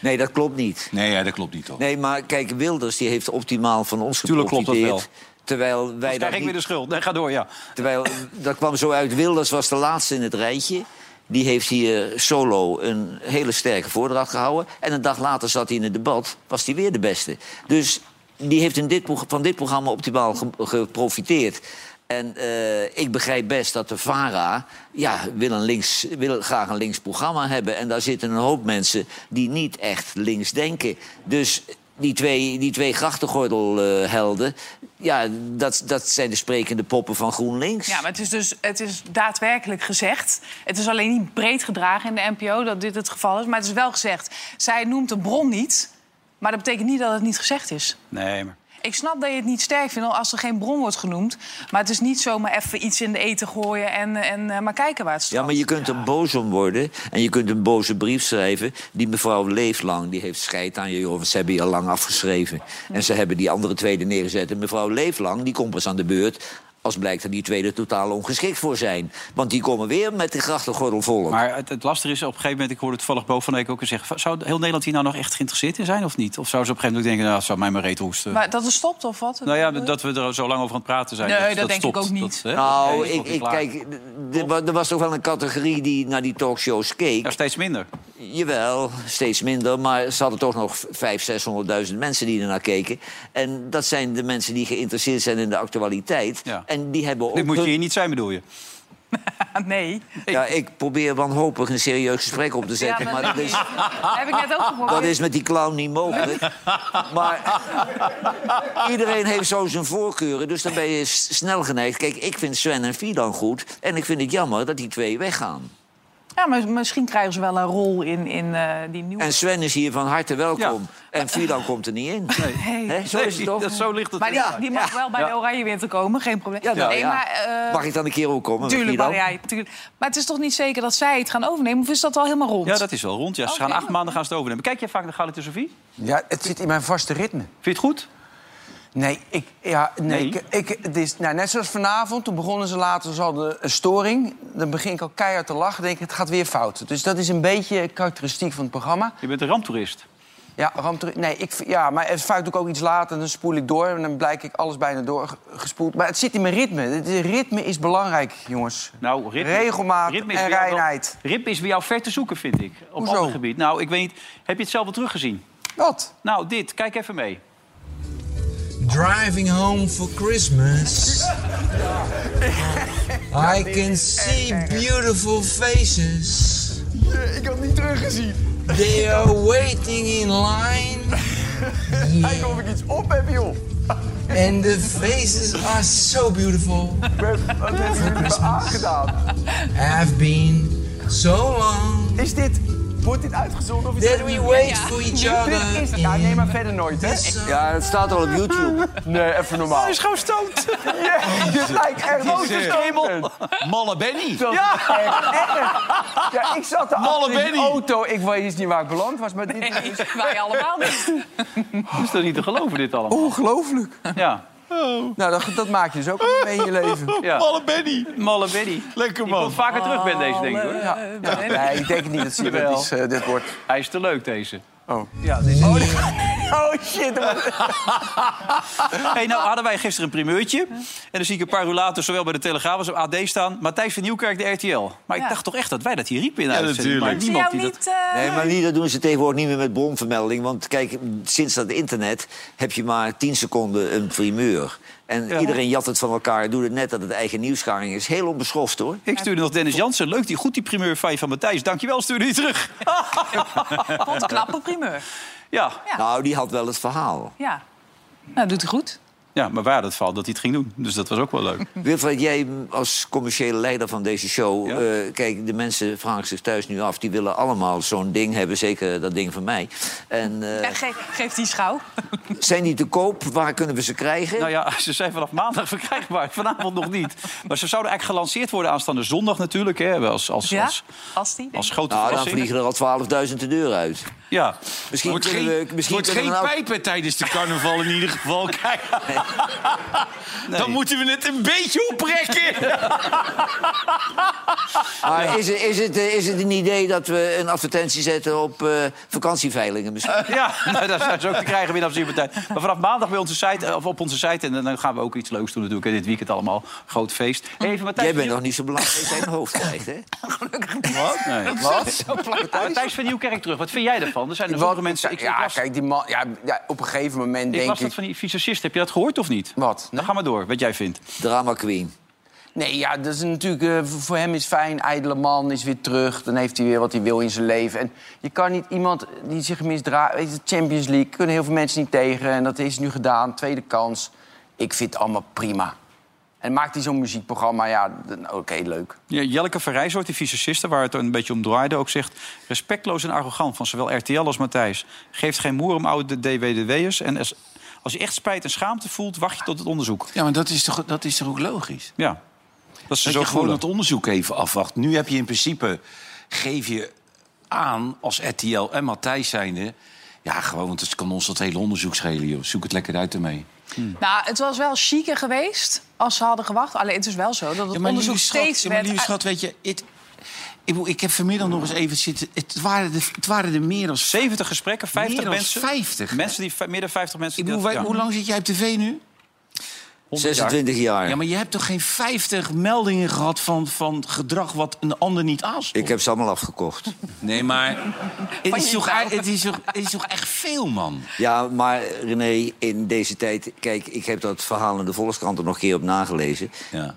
Speaker 5: Nee, dat klopt niet.
Speaker 6: Nee, ja, dat klopt niet toch?
Speaker 5: Nee, maar kijk, Wilders die heeft optimaal van ons
Speaker 2: Tuurlijk
Speaker 5: geprofiteerd.
Speaker 2: klopt dat
Speaker 5: Terwijl wij
Speaker 2: Dan
Speaker 5: daar
Speaker 2: krijg ik weer de schuld. Nee, ga door, ja.
Speaker 5: Terwijl, dat kwam zo uit. Wilders was de laatste in het rijtje. Die heeft hier solo een hele sterke voordracht gehouden. En een dag later zat hij in het debat, was hij weer de beste. Dus die heeft in dit, pro- van dit programma optimaal ge- geprofiteerd. En eh, ik begrijp best dat de VARA ja, wil, een links, wil graag een links programma hebben. En daar zitten een hoop mensen die niet echt links denken. Dus die twee, die twee grachtengordelhelden, ja, dat, dat zijn de sprekende poppen van GroenLinks.
Speaker 4: Ja, maar het is dus het is daadwerkelijk gezegd. Het is alleen niet breed gedragen in de NPO dat dit het geval is. Maar het is wel gezegd. Zij noemt de bron niet, maar dat betekent niet dat het niet gezegd is.
Speaker 2: Nee, maar...
Speaker 4: Ik snap dat je het niet sterk vindt als er geen bron wordt genoemd. Maar het is niet zomaar even iets in de eten gooien en, en eh, maar kijken waar het staat.
Speaker 5: Ja, maar je kunt er boos om worden en je kunt een boze brief schrijven. Die mevrouw Leeflang, die heeft scheid aan je, joh, want ze hebben je al lang afgeschreven. En ze hebben die andere tweede neergezet. En mevrouw Leeflang, die komt pas aan de beurt als blijkt dat die tweede totaal ongeschikt voor zijn. Want die komen weer met de grachtengordel vol.
Speaker 2: Maar het, het lastige is, op een gegeven moment, ik hoorde toevallig Bo van Dijk ook eens zeggen... van, zou heel Nederland hier nou nog echt geïnteresseerd in zijn of niet? Of zou ze op een gegeven moment ook denken, nou, het zou mij maar reet hoesten?
Speaker 4: Maar dat is stopt of wat?
Speaker 2: nou ja, dat we er zo lang over aan het praten zijn.
Speaker 4: Nee,
Speaker 2: dat,
Speaker 4: dat denk ik
Speaker 2: stopt.
Speaker 4: ook niet.
Speaker 2: Dat, hè, dat
Speaker 5: Nou,
Speaker 2: is nog
Speaker 5: ik,
Speaker 2: niet
Speaker 5: ik
Speaker 2: klaar.
Speaker 5: kijk, d- er wa- er was toch wel een categorie die naar die talkshows keek.
Speaker 2: Ja, steeds minder.
Speaker 5: Jawel, steeds minder. Maar ze hadden toch nog vijf, 600.000 mensen die ernaar keken. En dat zijn de mensen die geïnteresseerd zijn in de actualiteit.
Speaker 2: Ja.
Speaker 5: En die hebben ook.
Speaker 2: Dit moet je
Speaker 5: hun-
Speaker 2: hier niet zijn, bedoel je?
Speaker 4: Ah, nee.
Speaker 5: Ja, ik probeer wanhopig een serieus gesprek op te zetten.
Speaker 4: Ja,
Speaker 5: maar
Speaker 4: maar
Speaker 5: dat
Speaker 4: dat
Speaker 5: is,
Speaker 4: heb ik net ook geprobeerd.
Speaker 5: dat is met die clown niet mogelijk. Maar iedereen heeft zo zijn voorkeuren, dus dan ben je s- snel geneigd. Kijk, ik vind Sven en Fidan goed. En ik vind het jammer dat die twee weggaan.
Speaker 4: Ja, maar misschien krijgen ze wel een rol in, in eh, die nieuwe...
Speaker 5: En Sven is hier van harte welkom. En Fidan komt er niet in.
Speaker 4: Nee.
Speaker 5: Hè, zo is het toch?
Speaker 2: zo ligt het.
Speaker 4: Maar die, die mag wel bij de Oranje Winter komen, geen probleem.
Speaker 5: Ja, nou
Speaker 4: nee,
Speaker 5: ja.
Speaker 4: maar, eh,
Speaker 5: Mag ik dan een keer ook komen? met
Speaker 4: Tuurlijk,
Speaker 5: Fidan?
Speaker 4: maar, jij, tuurlijk. maar het is toch niet zeker dat zij het gaan overnemen? Of is dat al helemaal rond?
Speaker 2: Ja, dat is wel rond. Ja, ze gaan acht maanden gaan ze het overnemen. Kijk jij vaak naar Galatasy Sofie?
Speaker 7: Ja, het zit in mijn vaste ritme. Vind
Speaker 2: je het goed?
Speaker 7: Nee, ik, ja, nee,
Speaker 2: Nee?
Speaker 7: Ik, ik, het is, nou, net zoals vanavond, toen begonnen ze later, ze hadden een storing. Dan begin ik al keihard te lachen, denk ik, het gaat weer fout. Dus dat is een beetje karakteristiek van het programma.
Speaker 2: Je bent een ramptoerist.
Speaker 7: Ja, ramptoerist. Nee, ik, v- ja, maar het fout doe ik ook iets later, dan spoel ik door... en dan blijk ik alles bijna doorgespoeld. Maar het zit in mijn ritme. Het ritme is belangrijk, jongens.
Speaker 2: Nou, ritme,
Speaker 7: Regelmaat
Speaker 2: ritme is
Speaker 7: en
Speaker 2: bij jou wel-
Speaker 7: reinheid.
Speaker 2: ritme is bij jou ver te zoeken, vind ik. Op
Speaker 7: Hoezo?
Speaker 2: ander gebied. Nou, ik weet niet. Heb je het zelf al teruggezien?
Speaker 7: Wat?
Speaker 2: Nou, dit. Kijk even mee.
Speaker 11: Driving home for Christmas. I can see beautiful faces. Ik had niet teruggezien. They are waiting in line. Kijk of ik iets op heb, joh. And the faces are so beautiful. Wat
Speaker 7: hebben jullie me
Speaker 11: aangedaan? Have been so long. Is dit... Wordt dit uitgezonden of
Speaker 7: is
Speaker 11: That
Speaker 7: dit-
Speaker 11: we wait
Speaker 7: Ja.
Speaker 11: for each
Speaker 7: Dit
Speaker 11: other.
Speaker 7: is- ja, nee, maar verder nooit, hè?
Speaker 5: Ja, het staat al op YouTube.
Speaker 7: Nee, even normaal.
Speaker 2: is gewoon stoot.
Speaker 7: *laughs* Ja, dit lijkt echt
Speaker 6: Dit is,
Speaker 7: grote
Speaker 6: eh,
Speaker 7: stoten.
Speaker 6: Malle Benny.
Speaker 7: Dat ja. echt erg. Ja, ik zat
Speaker 6: Malle
Speaker 7: erachter in de
Speaker 6: Benny.
Speaker 7: auto. Ik wist niet waar ik beland was, maar dit is...
Speaker 4: Wij allemaal niet.
Speaker 2: Dat is toch niet te geloven, dit allemaal?
Speaker 7: Ongelooflijk.
Speaker 2: Ja.
Speaker 7: Nou, dat, dat maak je dus ook mee in je leven.
Speaker 2: ja.
Speaker 6: Malle Benny.
Speaker 2: Malle Benny.
Speaker 6: Lekker
Speaker 2: Die komt vaker terug ben deze,
Speaker 4: Oh,
Speaker 2: denk ik, hoor.
Speaker 7: Ja. Nee, ik denk het niet dat ze
Speaker 2: Jawel.
Speaker 7: dit, is, eh, dit wordt.
Speaker 2: Hij is te leuk, deze.
Speaker 7: Oh.
Speaker 2: Ja, dit is...
Speaker 7: Oh, shit.
Speaker 2: Hey, nou hadden wij gisteren een primeurtje. En dan zie ik een paar uur later zowel bij de Telegraaf als op AD staan... Matthijs van Nieuwkerk, de RTL. Maar ik
Speaker 4: Ja.
Speaker 2: dacht toch echt dat wij dat hier riepen in de
Speaker 5: Ja,
Speaker 2: uitzending.
Speaker 5: natuurlijk.
Speaker 2: Maar
Speaker 4: Zie
Speaker 2: niemand
Speaker 4: jou
Speaker 2: die dat...
Speaker 4: niet... eh,
Speaker 5: Nee, maar niet, dat doen ze tegenwoordig niet meer met bronvermelding. Want kijk, sinds dat internet heb je maar 10 seconden een primeur. En iedereen jat het van elkaar, doet het net dat het eigen nieuwsgaring is. Heel onbeschoft, hoor.
Speaker 2: Ik stuurde nog Dennis Jansen. Leuk, die goed die primeur van je van Matthijs. Dankjewel, stuurde hij terug.
Speaker 4: Wat een knappe primeur.
Speaker 2: Ja.
Speaker 4: Ja.
Speaker 5: Nou, die had wel het verhaal.
Speaker 4: Ja. Nou, doet hij goed.
Speaker 2: ja, maar waar dat valt dat hij het ging doen. Dus dat was ook wel leuk.
Speaker 5: Wilfred, jij als commerciële leider van deze show...
Speaker 2: Ja.
Speaker 5: eh, kijk, de mensen vragen zich thuis nu af. Die willen allemaal zo'n ding hebben, zeker dat ding van mij. En eh,
Speaker 4: Ja, ge- geef die schouw.
Speaker 5: zijn die te koop? Waar kunnen we ze krijgen?
Speaker 2: Nou ja, ze zijn vanaf maandag verkrijgbaar. Vanavond nog niet. Maar ze zouden eigenlijk gelanceerd worden aanstaande zondag natuurlijk. Hè, als, als,
Speaker 4: Ja,
Speaker 2: als,
Speaker 4: als die.
Speaker 2: als grote
Speaker 5: Nou, dan
Speaker 2: verrassing.
Speaker 5: vliegen er al 12.000 de deur uit.
Speaker 2: Ja.
Speaker 5: Misschien
Speaker 6: Wordt
Speaker 5: kunnen
Speaker 6: geen,
Speaker 5: we... Misschien
Speaker 6: wordt
Speaker 5: kunnen
Speaker 6: geen
Speaker 5: we nou-
Speaker 6: pijpen tijdens de carnaval in ieder *laughs* geval. Kijk,
Speaker 2: Nee.
Speaker 6: dan moeten we het een beetje oprekken.
Speaker 5: Maar is, het, is, het, eh, is het een idee dat we een advertentie zetten op eh, vakantieveilingen misschien?
Speaker 2: *laughs* Ja, nou, dat zijn ze ook te krijgen binnen Amsterdam Partij. Maar vanaf maandag bij onze site, eh, of op onze site. En dan gaan we ook iets leuks doen natuurlijk. hè, Dit weekend allemaal. Groot feest. Even Matthijs van
Speaker 5: Jij bent nog niet zo belangrijk dat je een hoofd krijgt, hè?
Speaker 2: Nieuwkerk- Oh,
Speaker 7: *laughs*
Speaker 2: Nee.
Speaker 7: Wat?
Speaker 2: Matthijs van Nieuwkerk terug. Wat vind jij daarvan? Er zijn er sommige mensen... Ik, ik
Speaker 7: ja,
Speaker 2: las-
Speaker 7: kijk, die man... Ja, ja, op een gegeven moment
Speaker 2: ik
Speaker 7: denk
Speaker 2: las dat
Speaker 7: ik...
Speaker 2: van die fysicist. Heb je dat gehoord of niet?
Speaker 7: Wat?
Speaker 2: Dan gaan we door, wat jij vindt.
Speaker 5: Drama queen.
Speaker 7: Nee, ja, dat is natuurlijk... eh, voor voor hem is fijn, ijdele man, is weer terug. Dan heeft hij weer wat hij wil in zijn leven. En je kan niet iemand die zich misdraagt... Weet je, de Champions League kunnen heel veel mensen niet tegen. En dat is nu gedaan, tweede kans. Ik vind het allemaal prima. En maakt hij zo'n muziekprogramma, ja, dan- oké, leuk.
Speaker 2: Ja, Jelke Verrijsoort, die fysiciste, waar het een beetje om draaide, ook zegt... respectloos en arrogant van zowel RTL als Matthijs. Geeft geen moer om oude DWDW'ers. En als, als je echt spijt en schaamte voelt, wacht je tot het onderzoek.
Speaker 6: Ja, maar dat is toch, dat is toch ook logisch?
Speaker 2: Ja, dat is
Speaker 6: Dat
Speaker 2: zo
Speaker 6: je gewoon
Speaker 2: voelen.
Speaker 6: het onderzoek even afwacht. Nu heb je in principe, geef je aan als RTL en Matthijs zijnde... Ja, gewoon, want het kan ons dat hele onderzoek schelen, joh. Zoek het lekker uit ermee.
Speaker 4: Nou, het was wel chiquer geweest als ze hadden gewacht. Alleen het is wel zo dat het onderzoek
Speaker 6: lieve schat,
Speaker 4: steeds
Speaker 6: ja, maar
Speaker 4: werd...
Speaker 6: lieve schat, weet je... het- ik, bedoel, ik heb vanmiddag nog eens even zitten... Het waren er, het waren er meer dan...
Speaker 2: 70 gesprekken, 50
Speaker 6: Meer dan
Speaker 2: mensen.
Speaker 6: 50, hè?
Speaker 2: Mensen die, meer dan 50 mensen.
Speaker 6: Ik
Speaker 2: die
Speaker 6: bedoel,
Speaker 2: dat-
Speaker 6: wij-
Speaker 2: ja.
Speaker 6: hoe lang zit jij op tv nu? 100 Ja, maar je hebt toch geen 50 meldingen gehad van, van gedrag wat een ander niet aanstond?
Speaker 5: Ik heb ze allemaal afgekocht.
Speaker 6: Nee, maar het is, toch, ei- het, is toch, het is toch echt veel, man?
Speaker 5: Ja, maar René, in deze tijd... Kijk, ik heb dat verhaal in de Volkskrant er nog een keer op nagelezen.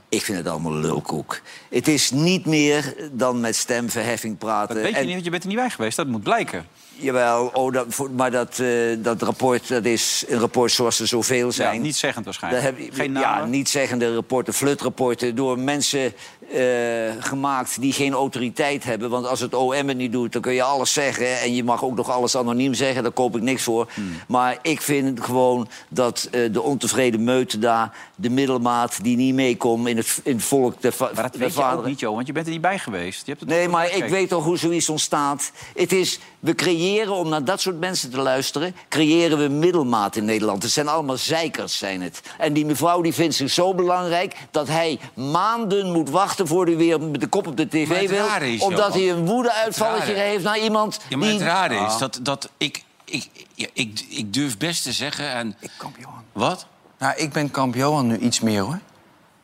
Speaker 5: Ik vind het allemaal lulkoek. Het is niet meer dan met stemverheffing praten.
Speaker 2: Weet je
Speaker 5: En-
Speaker 2: niet, want je bent er niet bij geweest. Dat moet blijken.
Speaker 5: Jawel, oh, dat, voor- maar dat, eh, dat rapport dat is een rapport zoals er zoveel zijn.
Speaker 2: niet zeggend waarschijnlijk.
Speaker 5: Daar heb je-
Speaker 2: Geen
Speaker 5: Ja, niet zeggende rapporten, flutrapporten... door mensen eh, gemaakt die geen autoriteit hebben. Want als het OM het niet doet, dan kun je alles zeggen... en je mag ook nog alles anoniem zeggen, daar koop ik niks voor.
Speaker 2: Hmm.
Speaker 5: Maar ik vind gewoon dat eh, de ontevreden meute daar... de middelmaat die niet meekomt in het, in het volk... De va-
Speaker 2: Maar dat
Speaker 5: de
Speaker 2: weet je ook
Speaker 5: vaderen-
Speaker 2: niet, joh, want je bent er niet bij geweest. Je hebt het
Speaker 5: Nee,
Speaker 2: toch
Speaker 5: maar
Speaker 2: bekeken.
Speaker 5: ik weet toch hoe zoiets ontstaat. Het is, we creëren, om naar dat soort mensen te luisteren... creëren we middelmaat in Nederland. Het zijn allemaal zeikers, zijn het. En die mevrouw die vindt zich zo belangrijk... dat hij maanden moet wachten voor hij weer met de kop op de
Speaker 6: Maar
Speaker 5: tv
Speaker 6: het
Speaker 5: wil...
Speaker 6: rare is,
Speaker 5: omdat
Speaker 6: Johan,
Speaker 5: hij een woedeuitvalletje
Speaker 6: het rare-
Speaker 5: heeft naar iemand
Speaker 6: Ja, maar
Speaker 5: die...
Speaker 6: het rare is dat, dat ik, ik, ik, ik, ik durf best te zeggen... En... Ik kampioen. Wat?
Speaker 7: Nou, ik ben kamp Johan nu iets meer, hoor.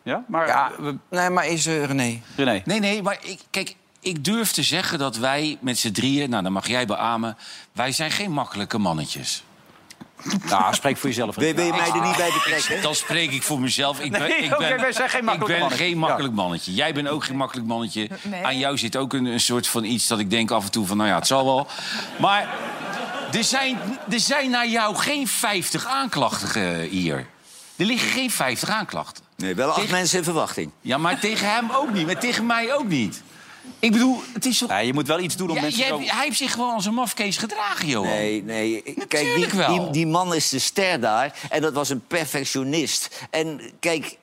Speaker 2: Ja, maar...
Speaker 7: Nee, maar is eh, René?
Speaker 2: René.
Speaker 6: Nee, nee, maar ik, kijk, ik durf te zeggen dat wij met z'n drieën... Nou, dan mag jij beamen. Wij zijn geen makkelijke mannetjes.
Speaker 2: Nou, spreek voor jezelf.
Speaker 5: Ben- ben je mij er niet bij betrekken?
Speaker 6: Dan spreek ik voor mezelf. Ik ben,
Speaker 2: Nee,
Speaker 6: ik ben,
Speaker 2: oké, wij zijn geen
Speaker 6: ik
Speaker 2: makkelijk
Speaker 6: ben
Speaker 2: mannetje.
Speaker 6: geen makkelijk mannetje. Jij bent ook geen makkelijk mannetje.
Speaker 2: Nee.
Speaker 6: Aan jou zit ook een, een soort van iets dat ik denk af en toe van... nou ja, het zal wel. Maar er zijn, er zijn naar jou geen 50 aanklachten eh, hier. Er liggen geen 50 aanklachten.
Speaker 5: Nee, wel acht mensen in verwachting.
Speaker 6: Ja, maar tegen hem ook niet. Maar tegen mij ook niet. Ik bedoel, het is toch...
Speaker 2: Ja, je moet wel iets doen om
Speaker 6: Jij-
Speaker 2: mensen
Speaker 6: jij
Speaker 2: zo...
Speaker 6: hebt- Hij heeft zich gewoon als een mafkees gedragen, Johan.
Speaker 5: Nee, nee. Kijk, die,
Speaker 6: Natuurlijk wel.
Speaker 5: die, die man is de ster daar. En dat was een perfectionist. En kijk,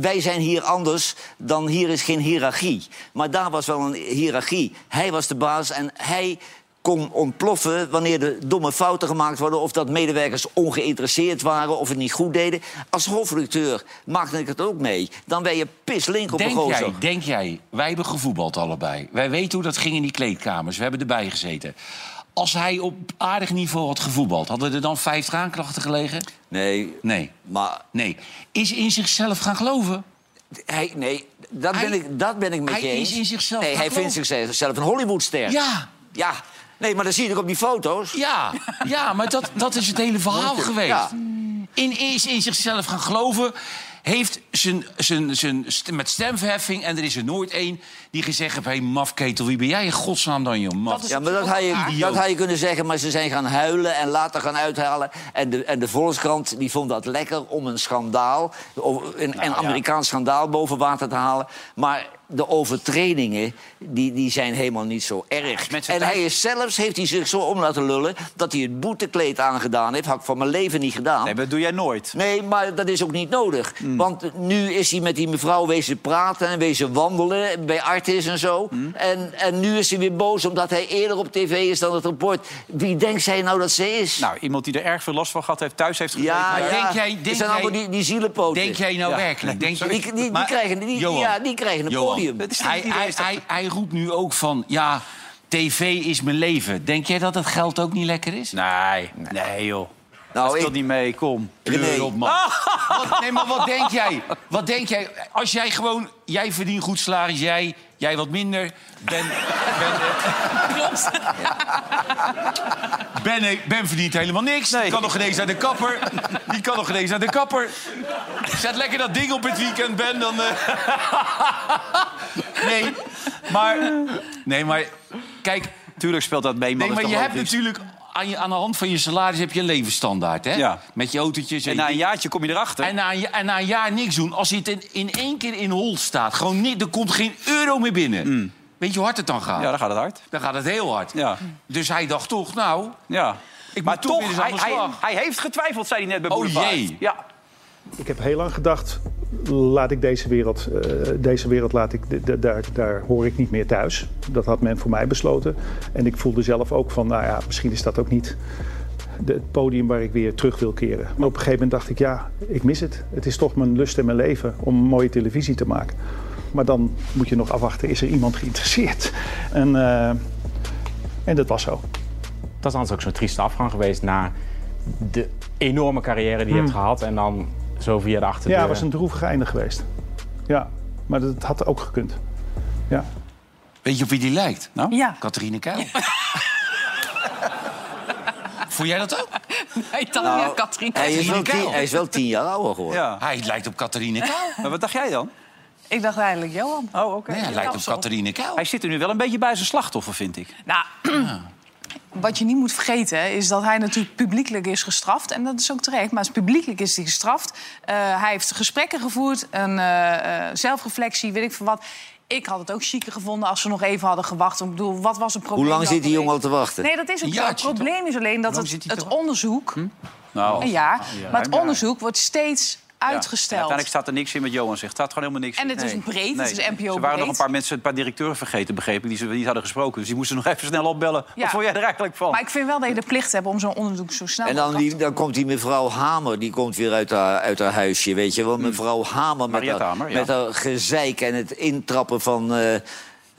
Speaker 5: wij zijn hier anders dan hier is geen hiërarchie. Maar daar was wel een hiërarchie. Hij was de baas en hij kon ontploffen wanneer er domme fouten gemaakt worden... of dat medewerkers ongeïnteresseerd waren of het niet goed deden. Als hoofdredacteur maakte ik het ook mee. Dan ben je pislink op een
Speaker 6: Denk
Speaker 5: gozer.
Speaker 6: jij, denk jij, wij hebben gevoetbald allebei. Wij weten hoe dat ging in die kleedkamers. We hebben erbij gezeten. Als hij op aardig niveau had gevoetbald, hadden er dan 50 aanklachten gelegen?
Speaker 5: Nee.
Speaker 6: Nee.
Speaker 5: Maar...
Speaker 6: Nee. Is in zichzelf gaan geloven?
Speaker 5: Hij, nee, dat,
Speaker 6: Hij-
Speaker 5: ben ik, dat ben ik met
Speaker 6: hij
Speaker 5: je eens.
Speaker 6: is in zichzelf
Speaker 5: nee,
Speaker 6: gaan
Speaker 5: hij vindt
Speaker 6: geloven.
Speaker 5: zichzelf een Hollywoodster.
Speaker 6: Ja.
Speaker 5: Ja. Nee, maar dat zie je ook op die foto's.
Speaker 6: Ja, ja maar dat, dat is het hele verhaal geweest.
Speaker 5: Ja.
Speaker 6: In, is in zichzelf gaan geloven. Heeft zijn, zijn, zijn, st- met stemverheffing, en er is er nooit één... die gezegd heeft, hé, hey, mafketel, wie ben jij in godsnaam dan, joh? Maf.
Speaker 5: Ja, maar dat had, je, dat had je kunnen zeggen, maar ze zijn gaan huilen en later gaan uithalen. En de, en de Volkskrant die vond dat lekker om een schandaal, om een,
Speaker 6: Nou
Speaker 5: een Amerikaans schandaal boven water te halen. Maar de overtredingen, die, die zijn helemaal niet zo erg.
Speaker 2: Mensen
Speaker 5: En
Speaker 2: thuis-
Speaker 5: hij is zelfs, heeft hij zich zo om laten lullen... dat hij het boetekleed aangedaan heeft. Had ik van mijn leven niet gedaan.
Speaker 2: Nee, maar dat doe jij nooit.
Speaker 5: Nee, maar dat is ook niet nodig. Want nu is hij met die mevrouw wezen praten en wezen wandelen bij Artis en zo. En, en nu is hij weer boos omdat hij eerder op tv is dan het rapport. Wie denkt zij nou dat ze is?
Speaker 2: Nou, iemand die er erg veel last van gehad heeft, thuis heeft gezeten.
Speaker 5: ja, ja.
Speaker 6: Denk jij-
Speaker 5: Het
Speaker 6: denk
Speaker 5: zijn allemaal
Speaker 6: jij-
Speaker 5: die, die zielenpoten.
Speaker 6: Denk jij nou
Speaker 5: Ja.
Speaker 6: werkelijk? Denk
Speaker 5: Die, die, die
Speaker 6: Maar-
Speaker 5: krijgen, die,
Speaker 6: Johan,
Speaker 5: ja, die krijgen een
Speaker 6: Johan,
Speaker 5: podium.
Speaker 6: Hij, hij, hij, hij roept nu ook van, ja, tv is mijn leven. Denk jij dat het geld ook niet lekker is?
Speaker 2: Nou. Nee, nee joh.
Speaker 5: Nou,
Speaker 2: dat speelt
Speaker 5: ik-
Speaker 2: niet mee, kom.
Speaker 6: Kleur op, man. Wat, nee, maar wat denk jij? Wat denk jij? Als jij gewoon... Jij verdient goed salaris, jij, jij wat minder. Ben... ben Klopt. Ben, ben verdient helemaal niks. Die kan nog geen eens naar de kapper. Die kan nog geen eens naar de kapper. Zet lekker dat ding op het weekend, Ben. Dan, eh. *laughs* nee, maar... Nee, maar... Kijk,
Speaker 2: Tuurlijk speelt dat mee, maar
Speaker 6: nee,
Speaker 2: dat
Speaker 6: maar
Speaker 2: is
Speaker 6: je
Speaker 2: toch
Speaker 6: hebt
Speaker 2: logisch?
Speaker 6: natuurlijk... Aan, je, aan de hand van je salaris heb je een levensstandaard, hè?
Speaker 2: Ja.
Speaker 6: Met je autootjes en,
Speaker 2: En
Speaker 6: je
Speaker 2: na een jaartje kom je erachter.
Speaker 6: en na, een ja- en na een jaar niks doen, als hij het in, in één keer in hol staat... Gewoon niet, er komt geen euro meer binnen. Weet je hoe hard het dan gaat?
Speaker 2: Mm. Ja, dan gaat het hard.
Speaker 6: Dan gaat het heel hard.
Speaker 2: Ja.
Speaker 6: Dus hij dacht toch, nou...
Speaker 2: ja.
Speaker 6: Ik
Speaker 2: maar
Speaker 6: moet toch
Speaker 2: toch,
Speaker 6: weer eens aan
Speaker 2: hij,
Speaker 6: de
Speaker 2: hij,
Speaker 6: slag.
Speaker 2: hij heeft getwijfeld, zei hij net bij
Speaker 6: Oh,
Speaker 2: Boulevard.
Speaker 6: jee.
Speaker 2: Ja.
Speaker 12: Ik heb heel lang gedacht, laat ik deze wereld, eh, deze wereld laat ik, d- d- daar, daar hoor ik niet meer thuis. Dat had men voor mij besloten. En ik voelde zelf ook van, nou ja, misschien is dat ook niet de- het podium waar ik weer terug wil keren. Maar op een gegeven moment dacht ik, ja, ik mis het. Het is toch mijn lust en mijn leven om mooie televisie te maken. Maar dan moet je nog afwachten, is er iemand geïnteresseerd? *laughs* En, eh, en dat was zo.
Speaker 13: Dat is anders ook zo'n trieste afgang geweest na de enorme carrière die je hebt gehad. En dan Zo via de achterdeur.
Speaker 12: Ja, het was een droevige einde geweest. Ja, maar dat had ook gekund. Ja.
Speaker 6: Weet je op wie die lijkt? Nou, Catharine
Speaker 2: *laughs*
Speaker 6: Keil. Voel jij dat ook?
Speaker 4: *laughs* Nee, dan
Speaker 6: Nou,
Speaker 4: ja, Katrien.
Speaker 5: Hij is, wel
Speaker 6: Catharine
Speaker 5: tien,
Speaker 6: Keil.
Speaker 5: hij is wel tien jaar ouder geworden.
Speaker 6: Ja. Hij lijkt op Catharine Keil.
Speaker 2: Maar wat dacht jij dan?
Speaker 4: Ik dacht eigenlijk Johan.
Speaker 2: Oh, oké.
Speaker 6: Nee, hij lijkt op Catharine Keil.
Speaker 2: Hij zit er nu wel een beetje bij zijn slachtoffer, vind ik.
Speaker 4: Nou, *clears throat* wat je niet moet vergeten is dat hij natuurlijk publiekelijk is gestraft. En dat is ook terecht, maar als publiekelijk is hij gestraft. Eh, hij heeft gesprekken gevoerd, een eh, eh, zelfreflectie, weet ik veel wat. Ik had het ook chiquer gevonden als ze nog even hadden gewacht. Ik bedoel, wat was een probleem?
Speaker 5: Hoe lang
Speaker 4: dan
Speaker 5: zit die
Speaker 4: geweest?
Speaker 5: jongen al te wachten?
Speaker 4: Nee, dat is ook
Speaker 5: Een
Speaker 4: zo. Het
Speaker 5: jaartje,
Speaker 4: probleem is alleen dat het, het onderzoek...
Speaker 2: Nou,
Speaker 4: een jaar,
Speaker 2: ja.
Speaker 4: maar het onderzoek wordt steeds
Speaker 2: Ja. En
Speaker 4: uitgesteld.
Speaker 2: uiteindelijk staat er niks in met Johan zegt. Staat gewoon helemaal niks
Speaker 4: En
Speaker 2: in.
Speaker 4: het is breed, het is
Speaker 2: Ze
Speaker 4: NPO
Speaker 2: waren nog
Speaker 4: breed.
Speaker 2: een paar mensen, een paar directeuren vergeten, begreep ik, die ze niet hadden gesproken. Dus die moesten nog even snel opbellen.
Speaker 4: Ja.
Speaker 2: Wat vond jij er eigenlijk van?
Speaker 4: Maar ik vind wel dat je de plicht hebt om zo'n onderzoek zo snel
Speaker 5: En dan, die, dan komt die mevrouw Hamer, die komt weer uit haar, uit haar huisje, weet je wel. Mevrouw Hamer met,
Speaker 2: Hmm. Mariette
Speaker 5: haar,
Speaker 2: Hamer, ja.
Speaker 5: met haar gezeik en het intrappen van, eh,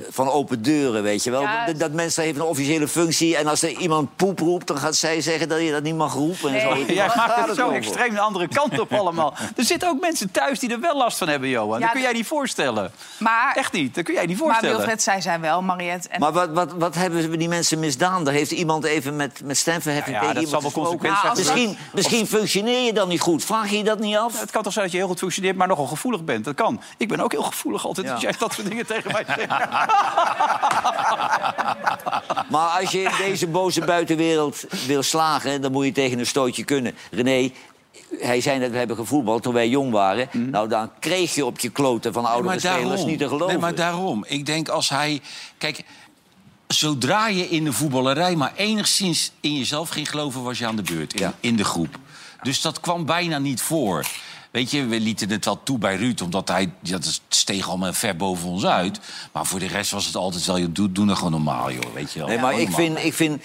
Speaker 5: van open deuren, weet je wel.
Speaker 4: Ja.
Speaker 5: Dat, dat mensen heeft een officiële functie en als er iemand poep roept... dan gaat zij zeggen dat je dat niet mag roepen. En zo.
Speaker 2: Sorry,
Speaker 5: Waar
Speaker 2: Oh, Jij maakt
Speaker 5: gaat
Speaker 2: het zo
Speaker 5: over?
Speaker 2: extreem de andere kant
Speaker 4: *laughs*
Speaker 2: op allemaal. Er zitten ook mensen thuis die er wel last van hebben, Johan.
Speaker 4: Ja,
Speaker 2: dat kun jij
Speaker 4: dat-
Speaker 2: niet voorstellen.
Speaker 4: Maar,
Speaker 2: Echt niet, dat kun jij niet
Speaker 4: maar
Speaker 2: voorstellen.
Speaker 4: Wilfred, zij zijn wel, Mariette en
Speaker 5: Maar wat, wat, wat hebben we die mensen misdaan? Daar heeft iemand even met, met stemverheffing
Speaker 2: Ja, ja,
Speaker 5: tegen
Speaker 2: dat
Speaker 5: iemand
Speaker 2: zal wel
Speaker 5: gesproken.
Speaker 2: consequenties hebben.
Speaker 5: Misschien, misschien functioneer je dan niet goed. Vraag je dat niet af?
Speaker 2: Nou, Het kan toch zijn dat je heel goed functioneert, maar nogal gevoelig bent. Dat kan. Ik ben ook heel gevoelig altijd
Speaker 5: Ja.
Speaker 2: als jij dat soort dingen tegen mij
Speaker 5: *laughs*
Speaker 2: zegt.
Speaker 5: Maar als je in deze boze buitenwereld wil slagen, dan moet je tegen een stootje kunnen. René, hij zei dat we hebben gevoetbald toen wij jong waren.
Speaker 6: Mm.
Speaker 5: Nou, dan kreeg je op je kloten van oudere spelers niet te geloven.
Speaker 6: Nee, maar daarom. Ik denk als hij... Kijk, zodra je in de voetballerij maar enigszins in jezelf ging geloven... was je aan de beurt in, in de groep. Dus dat kwam bijna niet voor. Weet je, we lieten het wel toe bij Ruud, omdat hij... Dat is- steeg allemaal ver boven ons uit. Maar voor de rest was het altijd wel... Joh, doe, doe nou gewoon normaal, joh. Weet
Speaker 4: Oh,
Speaker 6: je wel.
Speaker 5: Nee, maar
Speaker 6: Gewoon
Speaker 5: ik
Speaker 6: normaal.
Speaker 5: vind, ik vind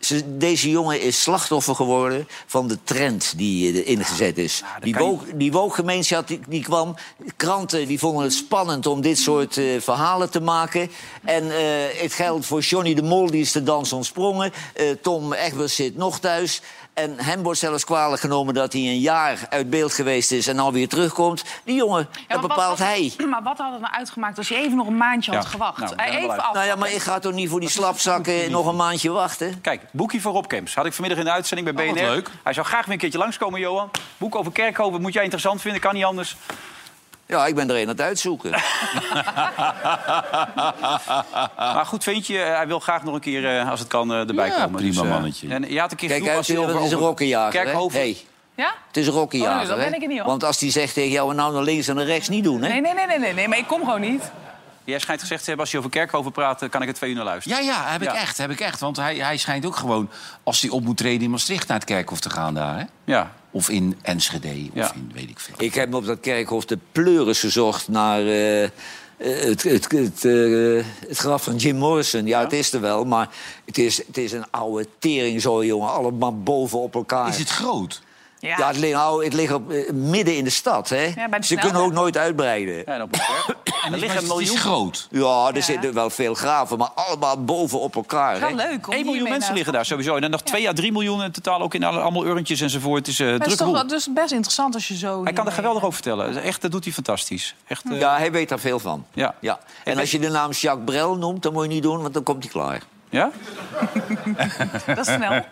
Speaker 5: ze- deze jongen is slachtoffer geworden van de trend die eh, er ingezet is. die,
Speaker 6: kan je-
Speaker 5: woke, die woke-gemeenschap die, die kwam, kranten die vonden het spannend om dit soort eh, verhalen te maken. En eh, het geldt voor Johnny de Mol, die is de dans ontsprongen. Eh, Tom Egbers zit nog thuis. En hem wordt zelfs kwalijk genomen dat hij een jaar uit beeld geweest is... en alweer terugkomt. Die jongen,
Speaker 4: Ja,
Speaker 5: dat
Speaker 4: maar
Speaker 5: bepaalt
Speaker 4: wat,
Speaker 5: hij.
Speaker 4: *clears throat* Maar wat had het nou uitgemaakt als je even nog een maandje had
Speaker 5: Ja,
Speaker 4: gewacht?
Speaker 5: nou,
Speaker 4: Eh, even af.
Speaker 5: Nou ja, maar ik ga toch niet voor die slapzakken nog een maandje wachten?
Speaker 2: Kijk, boekje voor Rob Kemps. Had ik vanmiddag in de uitzending bij
Speaker 5: Oh, wat
Speaker 2: BNR.
Speaker 5: leuk.
Speaker 2: Hij zou graag weer een keertje langskomen, Johan. Boek over Kerkhoven moet jij interessant vinden, kan niet
Speaker 5: *laughs*
Speaker 2: anders.
Speaker 5: Ja, ik ben er een aan het uitzoeken.
Speaker 2: maar goed, vind je, eh, hij wil graag nog een keer, eh, als het kan, eh, erbij
Speaker 5: Ja,
Speaker 2: komen.
Speaker 5: prima
Speaker 2: eh,
Speaker 5: mannetje.
Speaker 2: En je had een keer
Speaker 5: Kijk
Speaker 2: genoeg
Speaker 5: uit,
Speaker 2: als je
Speaker 5: dat
Speaker 2: over-
Speaker 5: is een
Speaker 2: over
Speaker 5: rokkenjager, hè?
Speaker 2: Kerkhoven.
Speaker 5: Hey.
Speaker 4: Ja?
Speaker 5: Het is een
Speaker 4: Oh, nee,
Speaker 5: rokkenjager,
Speaker 4: dat
Speaker 5: hè?
Speaker 4: ben ik er niet, hoor.
Speaker 5: Want als die zegt tegen jou, nou naar links en naar rechts, niet doen, hè?
Speaker 4: Nee, nee, nee, nee, nee, nee, maar ik kom gewoon niet.
Speaker 2: Jij schijnt gezegd te hebben, als je over Kerkhoven praat, eh, kan ik het twee uur naar
Speaker 6: Ja,
Speaker 2: luisteren.
Speaker 6: ja, heb ik echt. Heb ik echt. Want hij, hij schijnt ook gewoon, als hij op moet treden in Maastricht... naar het kerkhof te gaan daar, hè?
Speaker 2: Ja.
Speaker 6: Of in Enschede, of in weet ik veel.
Speaker 5: Ik heb me op dat kerkhof de pleuris gezocht naar eh, eh, het, het, het, eh, het graf van Jim Morrison. Ja, het is er wel, maar het is, het is een oude tering zo, jongen. Allemaal boven op elkaar. Is
Speaker 6: het groot?
Speaker 5: Ja, het ligt, nou, het ligt op, eh, midden in de stad, hè?
Speaker 4: bij de
Speaker 5: Ze
Speaker 4: snelweg.
Speaker 5: kunnen ook nooit uitbreiden.
Speaker 2: Ja, en op de kerk. Er liggen een miljoen.
Speaker 6: groot.
Speaker 5: Ja, er zitten wel veel graven, maar allemaal boven op elkaar. hè?
Speaker 2: 1 miljoen mensen liggen daar sowieso. En dan nog 2 à 3 miljoen in totaal, ook in alle, allemaal urntjes enzovoort. Het is eh,
Speaker 4: Het is
Speaker 2: druk
Speaker 4: toch
Speaker 2: boel.
Speaker 4: wel- dus best interessant als je zo...
Speaker 2: Hij kan er geweldig over vertellen. Echt, dat doet hij fantastisch. Echt, eh,
Speaker 5: Ja, hij weet daar veel van.
Speaker 2: Ja.
Speaker 5: Ja. En als je de naam Jacques Brel noemt, dan moet je niet doen, want dan komt hij klaar.
Speaker 2: Ja?
Speaker 4: Dat is
Speaker 2: *laughs*
Speaker 4: snel.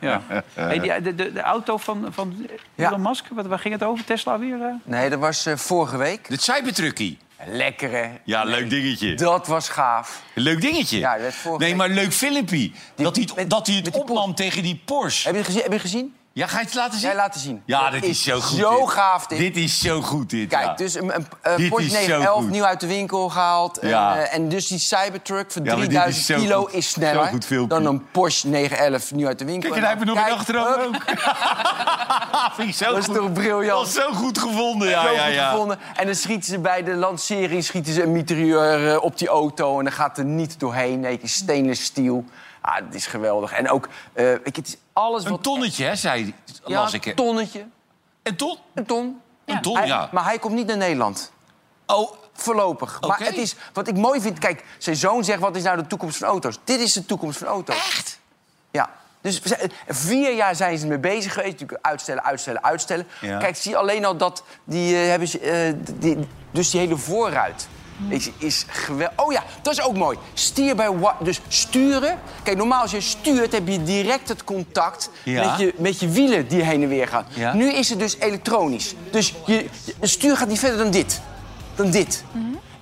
Speaker 2: Ja. Hey, die- eh, de, de, de auto van, van Elon Musk, wat, waar ging het over? Tesla weer? eh?
Speaker 7: Nee, dat was eh, vorige week.
Speaker 6: Dit cybertruckie.
Speaker 7: Lekker, hè?
Speaker 6: Ja, leuk dingetje.
Speaker 7: Dat was gaaf.
Speaker 6: Leuk dingetje.
Speaker 7: Ja, dat is vorige
Speaker 6: nee, maar leuk filmpje. Dat hij, het- dat hij het opnam tegen die Porsche.
Speaker 7: Heb je gezien? Heb je gezien?
Speaker 6: Ja, ga je het laten zien?
Speaker 7: Ja, laten zien.
Speaker 6: Ja,
Speaker 7: Dat
Speaker 6: dit is zo goed.
Speaker 7: Zo
Speaker 6: dit.
Speaker 7: gaaf, dit.
Speaker 6: Dit is zo goed, dit.
Speaker 7: Kijk,
Speaker 6: ja.
Speaker 7: dus een, een, eh,
Speaker 6: Dit
Speaker 7: Porsche
Speaker 6: is zo
Speaker 7: 911
Speaker 6: goed.
Speaker 7: nieuw uit de winkel gehaald. eh,
Speaker 6: Ja.
Speaker 7: en dus die Cybertruck van
Speaker 6: Ja, maar dit is
Speaker 7: 3000
Speaker 6: zo
Speaker 7: kilo
Speaker 6: goed.
Speaker 7: is sneller
Speaker 6: Zo goed filmpje.
Speaker 7: dan een Porsche 911 nieuw uit de winkel.
Speaker 6: Kijk, en hij heeft er nog een achteraf ook. *laughs* Vind ik zo
Speaker 7: Dat is
Speaker 6: goed.
Speaker 7: toch briljant?
Speaker 6: Dat is zo goed gevonden, ja,
Speaker 7: Zo
Speaker 6: ja,
Speaker 7: goed
Speaker 6: ja.
Speaker 7: gevonden. En dan schieten ze bij de lancering schieten ze een mitrailleur eh, op die auto. En dan gaat er niet doorheen. Nee, het is stainless steel. Ah, het is geweldig. En ook, eh, ik, het is alles wat...
Speaker 6: Een tonnetje, hè, zei
Speaker 7: Ja,
Speaker 6: las ik. hè.
Speaker 7: een tonnetje.
Speaker 6: Een ton?
Speaker 7: Een ton.
Speaker 6: Een ton,
Speaker 7: Hij-
Speaker 6: ja.
Speaker 7: Maar hij komt niet naar Nederland.
Speaker 6: Oh,
Speaker 7: Voorlopig. Maar het is, wat ik mooi vind... Kijk, zijn zoon zegt, wat is nou de toekomst van auto's? Dit is de toekomst van auto's. Echt? Ja. Dus we zijn- vier jaar zijn ze mee bezig geweest. Natuurlijk uitstellen, uitstellen, uitstellen.
Speaker 3: Ja.
Speaker 7: Kijk, zie alleen al dat die eh, hebben ze, eh, die, dus die hele voorruit. Is, is gewel- Oh ja, dat is ook mooi. Steer bij wa- Dus sturen. Kijk, normaal als je stuurt heb je direct het contact
Speaker 6: Ja.
Speaker 7: met, je, met je wielen die heen en weer gaan.
Speaker 6: Ja.
Speaker 7: Nu is het dus elektronisch. Dus je, het stuur gaat niet verder dan dit. Dan dit.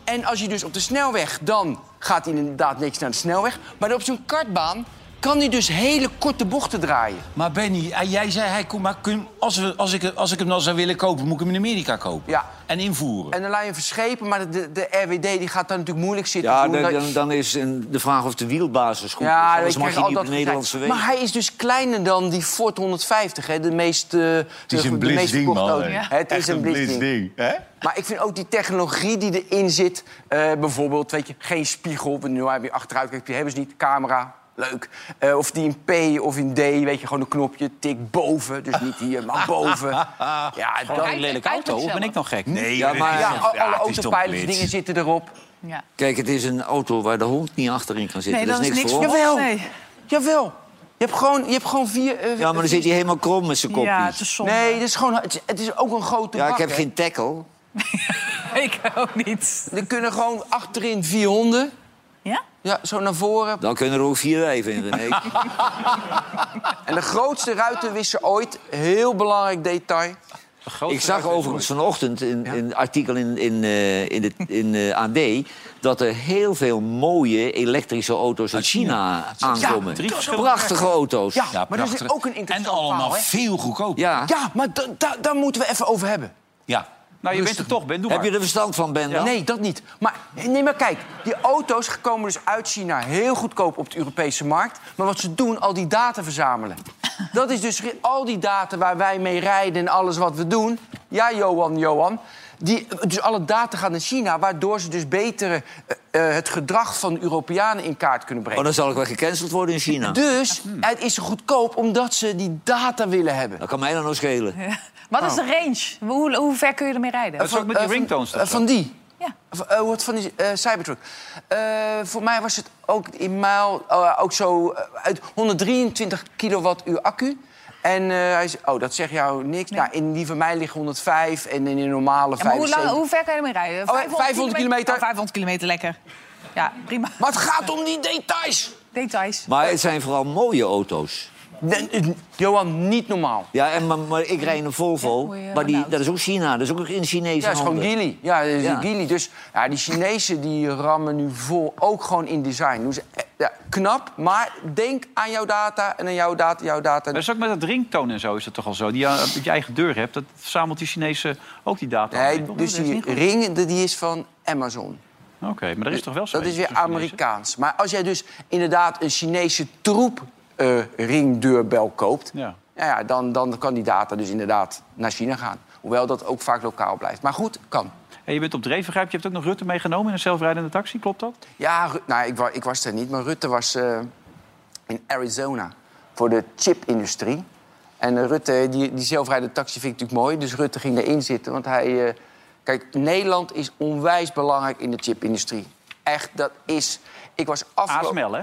Speaker 7: En als je dus op de snelweg, dan gaat hij inderdaad niks naar de snelweg. Maar op zo'n kartbaan kan hij dus hele korte bochten draaien.
Speaker 6: Maar Benny, eh, jij zei, hij kon, maar kun, als, we, als, ik, als ik hem dan zou willen kopen, moet ik hem in Amerika kopen.
Speaker 7: Ja.
Speaker 6: En invoeren.
Speaker 7: En dan laat je hem verschepen, maar de, de RWD die gaat daar natuurlijk moeilijk zitten.
Speaker 5: Ja,
Speaker 7: doen.
Speaker 5: dan,
Speaker 7: Dat-
Speaker 5: dan, dan is een- de vraag of de wielbasis goed
Speaker 7: Ja,
Speaker 5: is. Anders
Speaker 7: ik
Speaker 5: mag
Speaker 7: krijg
Speaker 5: je
Speaker 7: al
Speaker 5: niet op
Speaker 7: dat
Speaker 5: de Nederlandse
Speaker 7: gezeik.
Speaker 5: wegen.
Speaker 7: Maar hij is dus kleiner dan die Ford 150, hè, de meest... eh, de-
Speaker 3: is een
Speaker 7: de
Speaker 3: blitz
Speaker 7: meest
Speaker 3: ding,
Speaker 7: verkochte
Speaker 3: man,
Speaker 7: auto.
Speaker 3: hè.
Speaker 7: Het is
Speaker 3: Echt
Speaker 7: een
Speaker 3: een
Speaker 7: blitz
Speaker 3: blitz
Speaker 7: ding.
Speaker 3: ding, hè?
Speaker 7: Maar ik vind ook die technologie die erin zit... eh, bijvoorbeeld, weet je, geen spiegel. want Nu heb je achteruit, kijk, die hebben ze niet. Camera, leuk. Eh, of die in P of in D, weet je, gewoon een knopje. Tik boven, dus niet hier, maar
Speaker 5: *laughs*
Speaker 7: boven. Ja,
Speaker 2: Gewoon een lelijke auto, of ben ik nog gek?
Speaker 5: Nee,
Speaker 7: ja,
Speaker 5: dit is
Speaker 7: maar ja,
Speaker 5: echt-
Speaker 7: al-
Speaker 5: ja,
Speaker 7: alle
Speaker 5: het is toch
Speaker 7: autopilots
Speaker 5: blitz.
Speaker 7: dingen zitten erop.
Speaker 4: Ja.
Speaker 5: Kijk, het is een auto waar de hond niet achterin kan zitten.
Speaker 4: Nee,
Speaker 5: dat is niks voor ons.
Speaker 4: ons.
Speaker 7: Jawel.
Speaker 4: Nee.
Speaker 7: Jawel. Je hebt gewoon, je hebt gewoon vier... eh,
Speaker 5: Ja, maar dan zit hij helemaal krom met zijn kopjes.
Speaker 4: Ja, het is zonde.
Speaker 7: Nee, het is, gewoon, het is, het is ook een grote
Speaker 5: Ja, ik
Speaker 7: bak,
Speaker 5: heb
Speaker 7: hè.
Speaker 5: geen tackle.
Speaker 4: Ik ook niet.
Speaker 7: Er kunnen gewoon achterin vier honden.
Speaker 4: Ja?
Speaker 7: Ja, zo naar voren.
Speaker 5: Dan kunnen er ook vier wijven in, René.
Speaker 7: En de grootste ruitenwisser ooit. Heel belangrijk detail.
Speaker 5: Ik zag overigens vanochtend in in een artikel in, in, eh, in, de, in eh, AD... dat er heel veel mooie elektrische auto's uit China aankomen.
Speaker 6: Drie verschillende
Speaker 5: Prachtige
Speaker 6: merken.
Speaker 5: auto's.
Speaker 7: Ja, maar dat is
Speaker 6: prachtig.
Speaker 7: ook een
Speaker 6: En
Speaker 7: interessant
Speaker 6: allemaal
Speaker 7: verhaal, hè?
Speaker 6: veel goedkoper.
Speaker 5: Ja.
Speaker 7: Ja, maar da- da- daar moeten we even over hebben.
Speaker 6: ja.
Speaker 2: Nou, je bent er toch, Ben. Doe maar.
Speaker 5: Heb je er verstand van, Ben? dan?
Speaker 7: Nee, dat niet. Maar, nee, maar kijk, die auto's komen dus uit China heel goedkoop op de Europese markt. Maar wat ze doen, al die data verzamelen. Dat is dus re- al die data waar wij mee rijden en alles wat we doen. Ja, Johan, Johan. Die, dus alle data gaan naar China, waardoor ze dus beter eh, eh, het gedrag van de Europeanen in kaart kunnen
Speaker 5: Oh,
Speaker 7: brengen.
Speaker 5: dan zal ik wel gecanceld worden in China.
Speaker 7: Dus het is goedkoop omdat ze die data willen hebben.
Speaker 5: Dat kan mij dan nog schelen.
Speaker 4: Wat is de range? Hoe, hoe ver kun je ermee rijden?
Speaker 2: Dat is ook met die ringtones.
Speaker 7: Eh, van die.
Speaker 4: Ja.
Speaker 7: V- eh, hoe het van die eh, Cybertruck. Eh, voor mij was het ook in mijl, eh, ook zo eh, uit 123 kilowattuur accu. En eh, hij is, oh, dat zegt jou niks. Nou, in die van mij liggen 105 en in een normale
Speaker 4: Ja,
Speaker 7: 5.
Speaker 4: maar hoe, lang, hoe ver kan je ermee rijden?
Speaker 7: 500 kilometer.
Speaker 4: Oh, 500 kilometer, lekker. Ja, prima.
Speaker 7: Maar het gaat om die details.
Speaker 4: Details.
Speaker 5: Maar het zijn vooral mooie auto's.
Speaker 7: Nee, eh, Johan, niet normaal.
Speaker 5: Ja, en, maar, maar ik rijd in een Volvo,
Speaker 4: mooie
Speaker 5: maar die,
Speaker 4: auto's.
Speaker 5: dat is ook China. Dat is ook in Chinese
Speaker 7: Ja, het is gewoon
Speaker 5: handen.
Speaker 7: Gili. Ja, dat is
Speaker 5: Ja.
Speaker 7: Geely. Dus ja, die Chinezen die rammen nu vol, ook gewoon in design. Doen ze, eh, ja, knap, maar denk aan jouw data en aan jouw data, jouw data.
Speaker 2: Maar dat is ook met dat ringtoon en zo is dat toch al zo. Die je op je eigen deur hebt, dat verzamelt die Chinese ook die data.
Speaker 7: Nee,
Speaker 2: Oké,
Speaker 7: dus die ring de- die is van Amazon.
Speaker 2: maar er is toch wel dus zo.
Speaker 7: Dat
Speaker 2: eentje
Speaker 7: is weer
Speaker 2: tussen deze?
Speaker 7: Amerikaans. Maar als jij dus inderdaad een Chinese troep eh, ringdeurbel koopt...
Speaker 2: Ja.
Speaker 7: nou ja, dan, dan kan die data dus inderdaad naar China gaan. Hoewel dat ook vaak lokaal blijft. Maar goed, kan.
Speaker 2: En je bent op dreef, begrijp je. Je hebt ook nog Rutte meegenomen in een zelfrijdende taxi, klopt dat?
Speaker 7: Ja, Ru- nou, ik, wa- ik was er niet, maar Rutte was eh, in Arizona voor de chipindustrie. En eh, Rutte, die, die zelfrijdende taxi vind ik natuurlijk mooi. Dus Rutte ging daarin zitten, want hij... eh, kijk, Nederland is onwijs belangrijk in de chipindustrie. Echt, dat is... Ik was afgelopen...
Speaker 2: ASML, hè?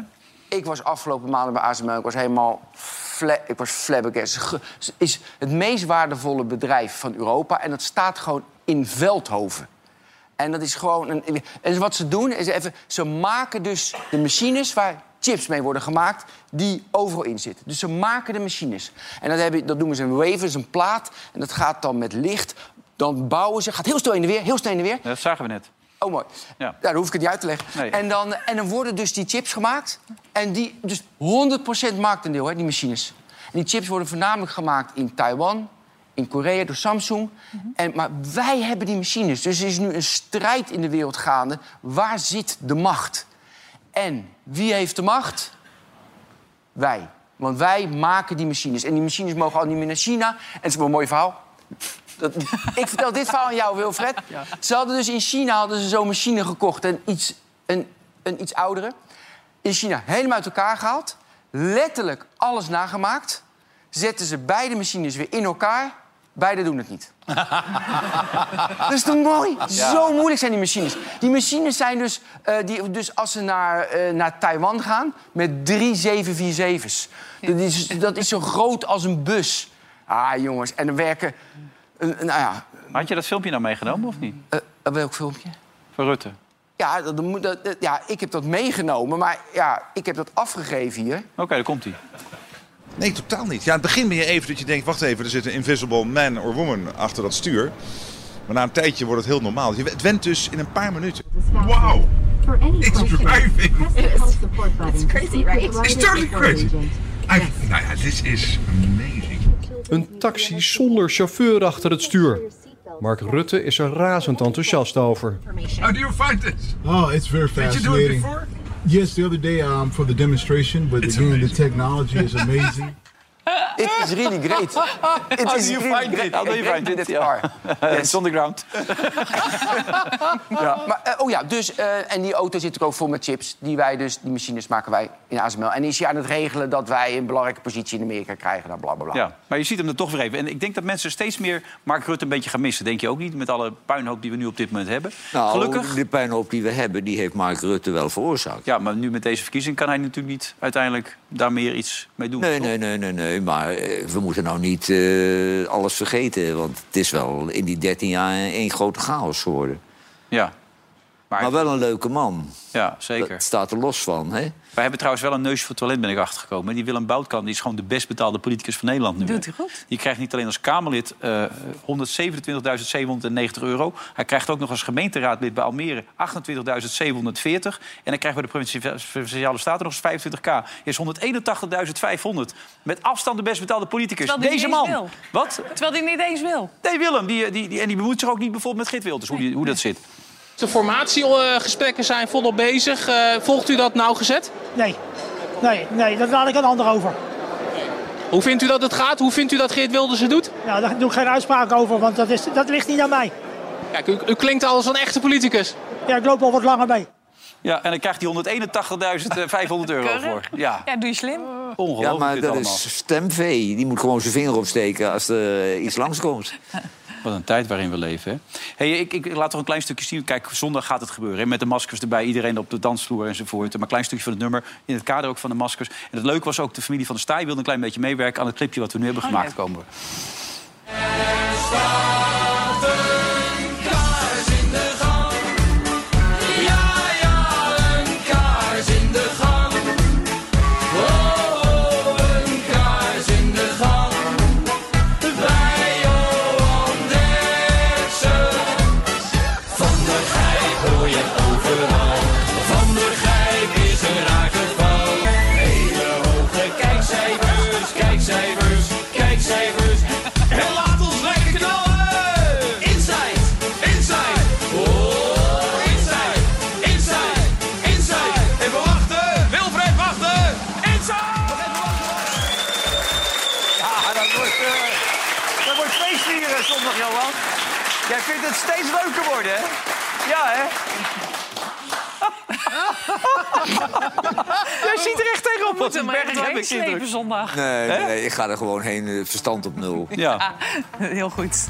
Speaker 7: Ik was afgelopen maanden bij ASML. Ik was helemaal fla ik was flabbergast. Ge- Het is het meest waardevolle bedrijf van Europa. En dat staat gewoon in Veldhoven. En dat is gewoon... Een, en wat ze doen, is even... Ze maken dus de machines waar chips mee worden gemaakt... die overal in zitten. Dus ze maken de machines. En dat, hebben, dat noemen ze een wafer, dat is een plaat. En dat gaat dan met licht... Dan bouwen ze... Gaat heel snel in de weer, heel snel in de weer.
Speaker 2: Dat zagen we net.
Speaker 7: Oh, mooi.
Speaker 2: Ja.
Speaker 7: Nou, dan hoef ik het niet uit te leggen.
Speaker 2: Nee.
Speaker 7: En, dan, en dan worden dus die chips gemaakt. En die, dus 100% marktendeel, hè, die machines. En die chips worden voornamelijk gemaakt in Taiwan, in Korea, door Samsung.
Speaker 2: Mhm.
Speaker 7: en, maar wij hebben die machines. Dus er is nu een strijd in de wereld gaande. Waar zit de macht? En wie heeft de macht? Wij. Want wij maken die machines. En die machines mogen al niet meer naar China. En het is wel een mooi verhaal. Dat, ik vertel dit verhaal aan jou, Wilfred. Ze hadden dus in China hadden ze zo'n machine gekocht. Een iets, een, een iets oudere. In China helemaal uit elkaar gehaald. Letterlijk alles nagemaakt. Zetten ze beide machines weer in elkaar. Beide doen het niet. dat is toch mooi? Zo moeilijk zijn die machines. Die machines zijn dus, eh, die, dus als ze naar, eh, naar Taiwan gaan, met drie 747's. Dat is, dat is zo groot als een bus. Ah, jongens, en er werken... eh, nou ja,
Speaker 2: Had je dat filmpje nou meegenomen of niet?
Speaker 7: Eh, welk filmpje?
Speaker 2: Van Rutte.
Speaker 7: ja, dat, dat moet- dat- dat- ja, ik heb dat meegenomen, maar ja, ik heb dat afgegeven hier.
Speaker 2: Oké, daar komt hij.
Speaker 13: Nee, totaal niet. Ja, aan het begin ben je even dat je denkt, wacht even, er zit een invisible man or woman achter dat stuur. Maar na een tijdje wordt het heel normaal. Je- Het went dus in een paar minuten.
Speaker 14: Wow.
Speaker 15: For any
Speaker 14: It's
Speaker 15: question,
Speaker 14: driving.
Speaker 15: press the help support button.
Speaker 14: It's crazy,
Speaker 15: Secret
Speaker 14: right?
Speaker 15: Rider
Speaker 14: It's totally
Speaker 15: support
Speaker 14: crazy.
Speaker 15: agent.
Speaker 14: I, nou ja, dit is amazing.
Speaker 16: Een taxi zonder chauffeur achter het stuur. Mark Rutte is er razend enthousiast over.
Speaker 14: How do you find this?
Speaker 17: Oh, it's very
Speaker 14: Did you
Speaker 17: fascinating.
Speaker 14: do it before?
Speaker 17: Yes, the other day um, for the demonstration, but again, the technology is amazing.
Speaker 7: It is really
Speaker 2: *laughs*
Speaker 7: great. It
Speaker 2: How
Speaker 7: is
Speaker 2: do you
Speaker 7: really
Speaker 2: find
Speaker 7: great.
Speaker 2: it? How do you
Speaker 7: I
Speaker 2: find it?
Speaker 7: did it
Speaker 2: *laughs* Ja.
Speaker 7: far.
Speaker 2: It's on the ground.
Speaker 7: ja. Maar, eh, oh ja, dus, eh, en die auto zit er ook vol met chips. Die, wij dus, die machines maken wij in ASML. En is hij aan het regelen dat wij een belangrijke positie in Amerika krijgen. Dan bla, bla, bla.
Speaker 2: Ja, maar je ziet hem er toch weer even. En ik denk dat mensen steeds meer Mark Rutte een beetje gaan missen. Denk je ook niet, met alle puinhoop die we nu op dit moment hebben.
Speaker 5: Nou,
Speaker 2: Gelukkig.
Speaker 5: de puinhoop die we hebben, die heeft Mark Rutte wel veroorzaakt.
Speaker 2: Ja, maar nu met deze verkiezing kan hij natuurlijk niet uiteindelijk daar meer iets mee doen.
Speaker 5: Nee,
Speaker 2: toch?
Speaker 5: nee, nee, nee, nee. Maar eh, we moeten nou niet eh, alles vergeten. Want het is wel in die 13 jaar één grote chaos geworden.
Speaker 2: Ja. Maar,
Speaker 5: wel een leuke man.
Speaker 2: Ja, zeker.
Speaker 5: Dat staat er los van, hè?
Speaker 2: Wij hebben trouwens wel een neus voor toilet, ben ik achtergekomen. Die Willem Boutkan die is gewoon de best betaalde politicus van Nederland nu.
Speaker 5: Doet
Speaker 2: hij goed. Die krijgt niet alleen als Kamerlid eh 127.790 euro. Hij krijgt ook nog als gemeenteraadlid bij Almere 28.740. En hij krijgt bij de Provinciale Staten nog eens 25k. Is 181.500. Met afstand de best betaalde politicus.
Speaker 4: Terwijl die
Speaker 2: Deze
Speaker 4: niet eens
Speaker 2: man.
Speaker 4: wil.
Speaker 2: Wat?
Speaker 4: Terwijl die niet eens wil.
Speaker 2: Nee, Willem. Die, die, die, en die bemoeit zich ook niet bijvoorbeeld met Git Wilders, hoe, die, hoe dat zit.
Speaker 18: De formatiegesprekken zijn volop bezig. Eh, volgt u dat nauwgezet?
Speaker 19: Nee, nee, nee, dat laat ik aan anderen over.
Speaker 18: Hoe vindt u dat het gaat? Hoe vindt u dat Geert Wilders het doet?
Speaker 19: Nou, daar doe ik geen uitspraak over, want dat, is, dat ligt niet aan mij.
Speaker 18: Kijk, u, u klinkt al als een echte politicus.
Speaker 19: Ja, ik loop al wat langer mee.
Speaker 2: Ja, en dan krijgt hij 181.500 euro voor. Ja.
Speaker 4: Ja, doe je slim.
Speaker 2: Ongelooflijk
Speaker 5: Ja, maar
Speaker 2: dit
Speaker 5: dat
Speaker 2: allemaal.
Speaker 5: is stemvee. Die moet gewoon zijn vinger opsteken als er eh, iets langskomt.
Speaker 2: Wat een tijd waarin we leven, hè? Hey, ik, ik laat toch een klein stukje zien. Kijk, zondag gaat het gebeuren. Hè? Met de maskers erbij, iedereen op de dansvloer enzovoort. Maar een klein stukje van het nummer, in het kader ook van de maskers. En het leuke was ook, de familie van de Staaij wilde een klein beetje meewerken... aan het clipje wat we nu hebben gemaakt komen. we.
Speaker 11: Kaars in de gang. Ja, ja, een kaars in de gang. Oh, oh, een kaars in de gang. Bij Johan Derksen. Van der Gijp hoor je overal. Van der Gijp is een raar geval. Hele hoge kijkcijfers, kijkcijfers, kijkcijfers. En laat ons lekker knallen. Inside, inside. Oh, inside, inside, inside. Even wachten. Wilfred, wachten. Inside.
Speaker 2: Ja, Ah, dat wordt, eh, dat wordt feest hier eh, zondag, Johan. Jij vindt het steeds leuker worden, hè? Ja, hè?
Speaker 4: Jij ziet er echt tegenop moeten, maar
Speaker 2: berg
Speaker 4: je
Speaker 2: heb
Speaker 4: hebt
Speaker 2: ik die
Speaker 4: slepen
Speaker 2: druk.
Speaker 4: zondag.
Speaker 5: Nee,
Speaker 4: Hè?
Speaker 5: nee, ik ga er gewoon heen, eh, verstand op nul.
Speaker 4: Ah, *laughs* heel goed.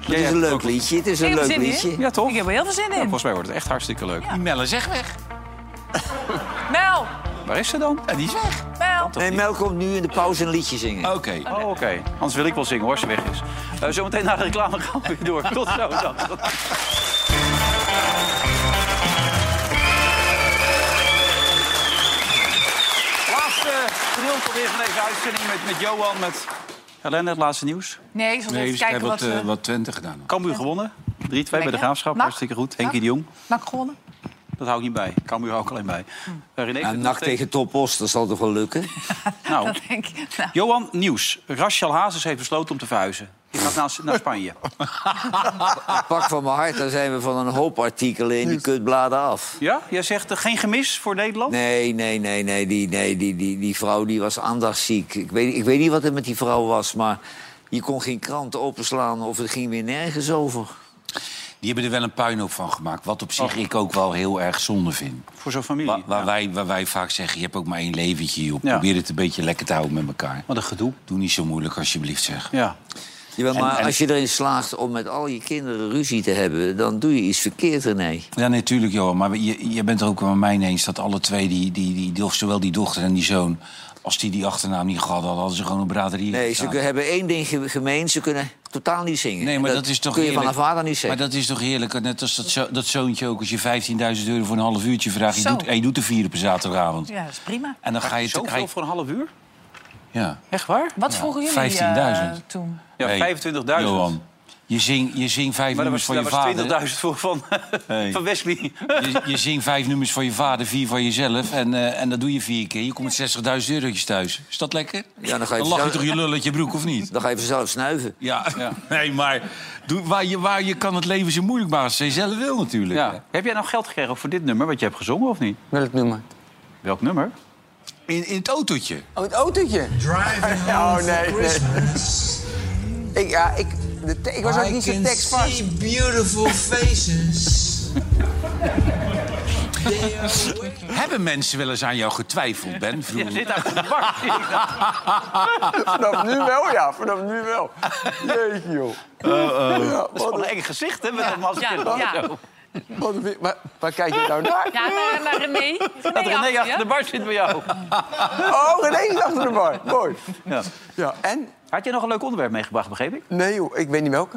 Speaker 5: Het is een leuk liedje, het is een
Speaker 4: Ik heb
Speaker 5: leuk
Speaker 4: er zin in.
Speaker 5: liedje.
Speaker 2: Ja, toch?
Speaker 4: Ik heb er heel veel zin in.
Speaker 2: Volgens mij wordt het echt hartstikke leuk.
Speaker 6: Die Melle zeg weg.
Speaker 4: Mel,
Speaker 2: Waar is ze dan? Ja, die is weg.
Speaker 4: Mel.
Speaker 5: Nee, Mel komt nu in de pauze een liedje zingen.
Speaker 6: Oké.
Speaker 2: Oh, oké. Anders wil ik wel zingen, hoor, als ze weg is. Eh, zometeen na de reclame gaan we weer door. Tot zo dan. Laatste gedeelte weer van deze uitzending met, met Johan, met Helene, het laatste nieuws.
Speaker 4: Nee, ik zal
Speaker 6: Nee,
Speaker 4: even
Speaker 6: dus
Speaker 4: kijken
Speaker 6: hebben
Speaker 4: wat...
Speaker 6: wat, eh,
Speaker 4: we-
Speaker 6: wat Twente gedaan.
Speaker 2: Cambuur gewonnen. 3-2 bij de
Speaker 4: Lekker.
Speaker 2: Graafschap,
Speaker 4: Nak.
Speaker 2: hartstikke goed. Henkie de Jong,
Speaker 4: Nak gewonnen.
Speaker 2: dat hou ik niet bij. Cambuur hou ik alleen bij. Eh, René,
Speaker 5: Nou, nacht tegen Topos, dat zal toch wel lukken?
Speaker 2: Nou,
Speaker 4: Dat *laughs* denk ik. Nou,
Speaker 2: Johan, nieuws. Rachel Hazes heeft besloten om te verhuizen. Die gaat naar,
Speaker 5: *laughs*
Speaker 2: naar Spanje.
Speaker 5: *laughs* Pak van mijn hart, dan zijn we van een hoop artikelen in die kutbladen af.
Speaker 2: Ja? Jij zegt eh, geen gemis voor Nederland?
Speaker 5: Nee, nee, nee, nee. Die, nee die, die, die vrouw die was aandachtsziek. Ik weet, ik weet niet wat er met die vrouw was, maar je kon geen krant openslaan of het ging weer nergens over.
Speaker 6: Die hebben er wel een puinhoop van gemaakt. Wat op zich ik ook wel heel erg zonde vind.
Speaker 2: Voor zo'n familie.
Speaker 6: Waar, waar wij, waar wij vaak zeggen, je hebt ook maar één leventje. Joh.
Speaker 2: Ja.
Speaker 6: Probeer het een beetje lekker te houden met elkaar.
Speaker 2: Wat een gedoe.
Speaker 6: Doe niet zo moeilijk, alsjeblieft, zeg.
Speaker 2: Ja.
Speaker 5: Jawel,
Speaker 6: En-
Speaker 5: maar
Speaker 6: en-
Speaker 5: als je erin slaagt om met al je kinderen ruzie te hebben, dan doe je iets verkeerd, René.
Speaker 6: Ja, natuurlijk, Johan. Maar je, je bent er ook wel met mij eens dat alle twee, die, die, die, die- zowel die dochter en die zoon... als die die achternaam niet gehad hadden, hadden ze gewoon een braderie
Speaker 5: Nee, ze kunnen- hebben één ding ge- gemeen, ze kunnen totaal niet zingen.
Speaker 6: Nee,
Speaker 5: En
Speaker 6: maar dat, is toch
Speaker 5: kun je
Speaker 6: heerlijk.
Speaker 5: van haar vader niet
Speaker 6: Maar
Speaker 5: zeggen.
Speaker 6: dat is toch heerlijk. Net als dat, zo- dat zoontje ook, als je 15.000 euro voor een half uurtje vraagt... Je
Speaker 4: Zo.
Speaker 6: doet, en je doet er vier op een zaterdagavond.
Speaker 4: Ja, dat is prima.
Speaker 6: En dan ga je... te- ga je-
Speaker 2: Zoveel voor een half uur?
Speaker 6: ja.
Speaker 2: Echt waar?
Speaker 4: Wat
Speaker 6: Ja,
Speaker 4: vroegen jullie eh
Speaker 6: 15.000.
Speaker 4: toen?
Speaker 2: Ja,
Speaker 6: Nee,
Speaker 2: 25.000.
Speaker 6: Johan, je zingt je zing vijf
Speaker 2: Maar daar
Speaker 6: nummers
Speaker 2: was,
Speaker 6: voor
Speaker 2: daar
Speaker 6: je
Speaker 2: was
Speaker 6: vader.
Speaker 2: 20.000 voor van, *laughs*
Speaker 6: Hey.
Speaker 2: van
Speaker 6: *laughs*
Speaker 2: Wesley.
Speaker 6: Je, je zingt vijf nummers voor je vader, vier voor jezelf. En, eh, en dat doe je vier keer. Je komt met 60.000 eurotjes thuis. Is dat lekker?
Speaker 5: Ja, dan ga je
Speaker 6: lach je
Speaker 5: vanzelf-
Speaker 6: toch je lul uit je broek, of niet?
Speaker 5: Dan ga je vanzelf snuiven.
Speaker 6: Ja, *laughs* nee, maar doe, waar, je, waar je kan het leven zo moeilijk maken als je zelf wil natuurlijk.
Speaker 2: Ja. Heb jij nou geld gekregen ook voor dit nummer wat je hebt gezongen of niet?
Speaker 7: Welk nummer?
Speaker 2: Welk nummer?
Speaker 6: In, in het autootje.
Speaker 7: Oh, het autootje. *laughs* Oh, nee, nee. Ik, ja, ik, de te- ik was ook
Speaker 11: I
Speaker 7: niet zo
Speaker 11: can
Speaker 7: tekstvast.
Speaker 11: see beautiful faces. They are
Speaker 6: Hebben mensen wel eens aan jou getwijfeld, Ben?
Speaker 2: Je
Speaker 6: Vroeger?
Speaker 2: zit achter de *laughs* bak.
Speaker 7: *laughs* Vanaf nu wel, ja. Vanaf nu wel. Jeetje, joh.
Speaker 2: Eh,
Speaker 7: Ja,
Speaker 2: Dat is wel
Speaker 7: wat,
Speaker 2: een eng gezicht, hè? Met dat
Speaker 8: ja,
Speaker 2: masker.
Speaker 8: ja.
Speaker 7: wat, een- waar, waar kijk je nou naar?
Speaker 8: Ja, maar, maar
Speaker 4: *laughs*
Speaker 8: René... René
Speaker 2: Dat René
Speaker 8: achter je.
Speaker 2: achter de bar zit bij jou.
Speaker 7: Oh, René is achter de bar. Mooi.
Speaker 2: Ja.
Speaker 7: Ja, en?
Speaker 2: Had je nog een leuk onderwerp meegebracht, begreep ik?
Speaker 7: Nee, joh. Ik weet niet welke.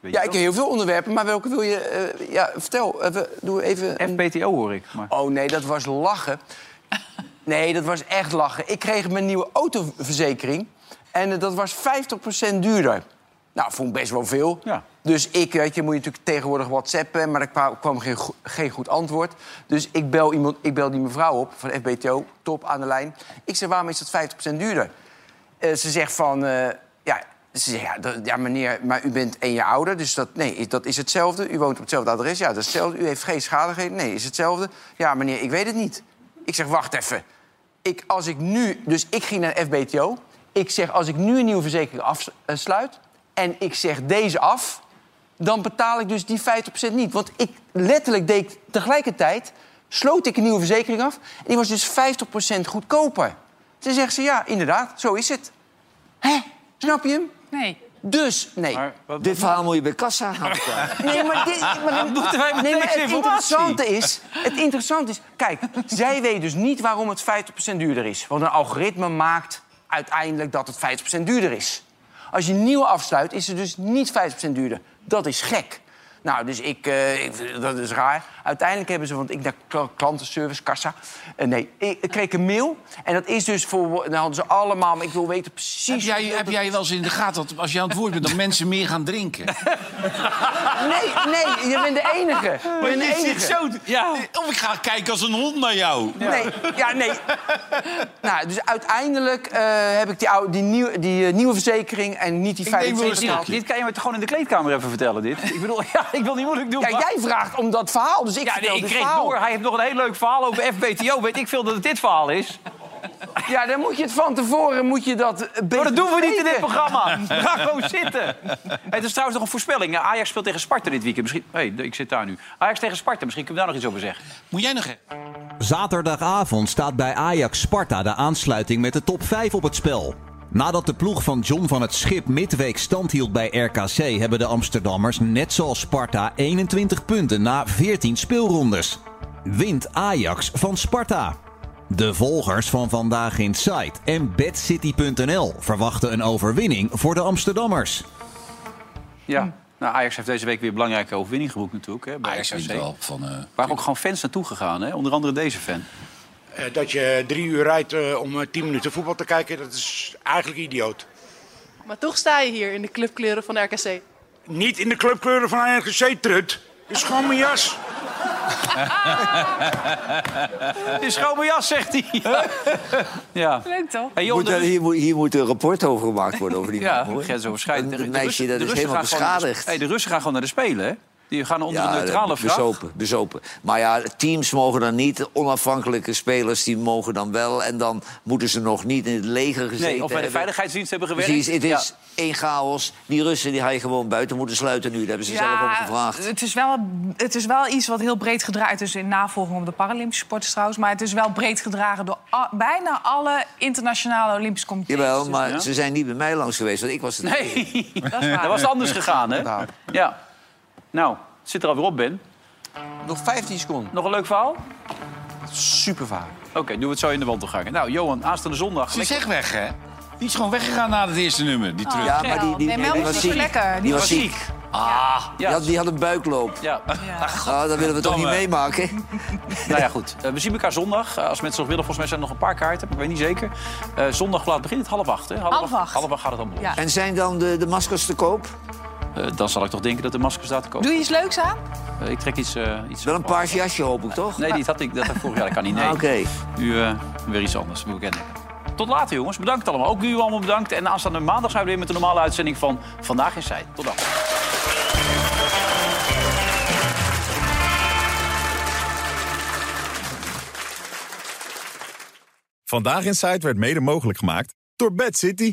Speaker 2: Weet je
Speaker 7: Ja, ik heb heel veel onderwerpen, maar welke wil je... eh, ja, vertel. eh, we- doe even... een-
Speaker 2: FBTO hoor ik. Maar...
Speaker 7: Oh nee, dat was *laughs* lachen. Nee, dat was echt lachen. Ik kreeg mijn nieuwe autoverzekering. En eh, dat was 50% duurder. Nou, vond ik best wel veel.
Speaker 2: Ja.
Speaker 7: Dus ik, weet je, moet je natuurlijk tegenwoordig whatsappen... maar er kwa- kwam geen, go- geen goed antwoord. Dus ik bel, iemand, ik bel die mevrouw op van FBTO, top aan de lijn. Ik zeg, waarom is dat 50% duurder? Eh, ze zegt van, eh, ja, ze zegt, ja, dat- ja, meneer, maar u bent één jaar ouder, dus dat, nee, is- dat is hetzelfde. U woont op hetzelfde adres, ja, dat is hetzelfde. U heeft geen schadigheden, nee, is hetzelfde. Ja, meneer, ik weet het niet. Ik zeg, wacht even. Ik, als ik nu, dus ik ging naar FBTO. Ik zeg, als ik nu een nieuwe verzekering afsluit... en ik zeg deze af, dan betaal ik dus die 50% niet. Want ik letterlijk deed ik tegelijkertijd, sloot ik een nieuwe verzekering af... en die was dus 50% goedkoper. Toen zegt ze, ja, inderdaad, zo is het. Hè? Snap je hem?
Speaker 8: Nee.
Speaker 7: Dus, nee.
Speaker 5: Dit verhaal moet je bij kassa gaan
Speaker 6: *laughs*
Speaker 5: vertellen.
Speaker 7: Nee, maar, dit, maar,
Speaker 2: moeten wij met
Speaker 7: nee, maar
Speaker 2: deze
Speaker 7: het,
Speaker 2: informatie?
Speaker 7: interessante is, het interessante is... Kijk, zij weet dus niet waarom het 50% duurder is. Want een algoritme maakt uiteindelijk dat het 50% duurder is. Als je een nieuwe afsluit, is het dus niet 50% duurder. Dat is gek. Nou, dus ik, eh, ik- dat is raar. Uiteindelijk hebben ze, want ik naar kla- klantenservice, kassa. Eh, nee, ik, ik kreeg een mail. En dat is dus voor. Dan hadden ze allemaal. Maar ik wil weten precies.
Speaker 6: Heb jij,
Speaker 7: hoeveel
Speaker 6: heb
Speaker 7: dat-
Speaker 6: jij wel eens in de gaten dat als je aan het woord bent... dat mensen meer gaan drinken?
Speaker 7: Nee, nee, je bent de
Speaker 2: *laughs*
Speaker 7: enige. Je bent de enige.
Speaker 6: *laughs*
Speaker 2: Oh,
Speaker 6: Of ik ga kijken als een hond naar jou.
Speaker 7: Nee, ja,
Speaker 2: *laughs*
Speaker 7: nee. nou, dus uiteindelijk eh, heb ik die, oude, die, nieuwe, die eh, nieuwe verzekering en niet die
Speaker 2: Ik neem wel
Speaker 7: 50
Speaker 2: eens
Speaker 7: betaald.
Speaker 2: dit, dit kan je me gewoon in de kleedkamer even vertellen, dit. Ik bedoel, *laughs* ja, ik wil niet moeilijk doen.
Speaker 7: Ja,
Speaker 2: maar-
Speaker 7: jij vraagt om dat verhaal, dus ik
Speaker 2: Ja,
Speaker 7: vertel
Speaker 2: nee, ik
Speaker 7: dit
Speaker 2: kreeg
Speaker 7: verhaal.
Speaker 2: door. Hij heeft nog een heel leuk verhaal over FBTO. Weet ik veel dat het dit verhaal is?
Speaker 7: Ja, dan moet je het van tevoren moet je dat eh, beter
Speaker 2: Maar dat doen we niet in dit
Speaker 7: weten.
Speaker 2: programma. Ga gewoon zitten. Het is trouwens nog een voorspelling. Ja, Ajax speelt tegen Sparta dit weekend. Misschien... Hé, hey, ik zit daar nu. Ajax tegen Sparta. Misschien kunnen we daar nog iets over zeggen.
Speaker 6: Moet jij nog... even-
Speaker 15: Zaterdagavond staat bij Ajax Sparta de aansluiting met de top 5 op het spel. Nadat de ploeg van John van het Schip midweek stand hield bij RKC, hebben de Amsterdammers, net zoals Sparta, 21 punten na 14 speelrondes. Wint Ajax van Sparta. De volgers van Vandaag in Sight en BadCity.nl verwachten een overwinning voor de Amsterdammers.
Speaker 2: Ja. Nou, Ajax heeft deze week weer een belangrijke overwinning geboekt natuurlijk. Hè, bij
Speaker 6: Ajax heeft
Speaker 2: RKC.
Speaker 6: wel van... eh,
Speaker 2: Waar ook gewoon fans naartoe gegaan. Hè? Onder andere deze fan.
Speaker 20: Eh, dat je drie uur rijdt eh, om eh, tien minuten voetbal te kijken, dat is eigenlijk idioot.
Speaker 21: Maar toch sta je hier in de clubkleuren van de RKC.
Speaker 20: Niet in de clubkleuren van RGC, trut. Is gewoon mijn jas.
Speaker 2: Het is gewoon mijn jas, zegt hij. *laughs* Ja.
Speaker 4: Leuk toch?
Speaker 2: Hey, joh,
Speaker 5: Moet er-
Speaker 2: de-
Speaker 5: hier, moet, hier moet een rapport over gemaakt worden over
Speaker 2: *laughs*
Speaker 5: die
Speaker 2: Ja,
Speaker 5: man, hoor.
Speaker 2: grensoverschrijdend.
Speaker 5: Een
Speaker 2: De Russen-
Speaker 5: meisje dat
Speaker 2: de
Speaker 5: is
Speaker 2: Russen
Speaker 5: helemaal
Speaker 2: gaan gewoon naar de-
Speaker 5: beschadigd.
Speaker 2: hey, de Russen gaan gewoon naar de Spelen, hè? Die gaan onder een
Speaker 5: Ja,
Speaker 2: neutrale vlag.
Speaker 5: bezopen, bezopen. Maar ja, teams mogen dan niet. Onafhankelijke spelers die mogen dan wel. En dan moeten ze nog niet in het leger
Speaker 2: Nee,
Speaker 5: gezeten
Speaker 2: of bij de
Speaker 5: hebben.
Speaker 2: veiligheidsdienst hebben gewerkt.
Speaker 5: Precies, het
Speaker 2: Ja.
Speaker 5: is één chaos. Die Russen die ga je gewoon buiten moeten sluiten nu. Daar hebben ze zelf om gevraagd.
Speaker 4: Het is, wel, het is wel iets wat heel breed gedraaid is in navolging op de Paralympische sporters trouwens. Maar het is wel breed gedragen door a- bijna alle internationale Olympische comité's.
Speaker 5: Jawel,
Speaker 4: Dus,
Speaker 5: maar
Speaker 4: ja.
Speaker 5: ze zijn niet bij mij langs geweest, want ik was het.
Speaker 2: Nee,
Speaker 4: dat is
Speaker 2: dat
Speaker 4: waar.
Speaker 2: was het anders gegaan, hè? Ja. Nou, het zit er alweer op, Ben.
Speaker 7: Nog 15 seconden.
Speaker 2: Nog een leuk verhaal?
Speaker 7: Super verhaal.
Speaker 2: Oké, doen we het zo in de wandelgangen. Nou, Johan, aanstaande zondag.
Speaker 6: Ze is echt weg, hè? Die is gewoon weggegaan na het eerste nummer, die terug.
Speaker 5: ja, maar die, die,
Speaker 4: Nee,
Speaker 5: die
Speaker 4: Melvin
Speaker 5: was
Speaker 4: is
Speaker 5: ziek.
Speaker 4: lekker.
Speaker 5: Die,
Speaker 4: Die
Speaker 5: was
Speaker 4: was
Speaker 5: ziek. Ah, die had, die had een buikloop.
Speaker 2: Ja. *laughs*
Speaker 5: Ah, dat willen we toch niet
Speaker 2: Domme.
Speaker 5: meemaken.
Speaker 2: Nou ja, goed. Eh, we zien elkaar zondag. Eh, als mensen nog willen, volgens mij zijn er nog een paar kaarten. maar Ik weet niet zeker. Eh, zondag laat begint het half acht, hè?
Speaker 5: Half acht.
Speaker 2: Half acht gaat het allemaal.
Speaker 5: En zijn dan de, de maskers te koop?
Speaker 2: Eh, dan zal ik toch denken dat de maskers daar te koop.
Speaker 4: Doe je iets leuks aan?
Speaker 2: Eh, ik trek iets... eh iets
Speaker 5: Wel een paars jasje, hoop ik, toch?
Speaker 2: Nee, die had ik, dat had ik vorig jaar. Dat kan niet, nee.
Speaker 5: Ah, Oké.
Speaker 2: Nu eh, weer iets anders, moet ik kennen. Tot later, jongens. Bedankt allemaal. Ook jullie allemaal bedankt. En aanstaande maandag zijn we weer met de normale uitzending van Vandaag is Zij. Tot dan.
Speaker 22: Vandaag in Zuid werd mede mogelijk gemaakt door Bad City.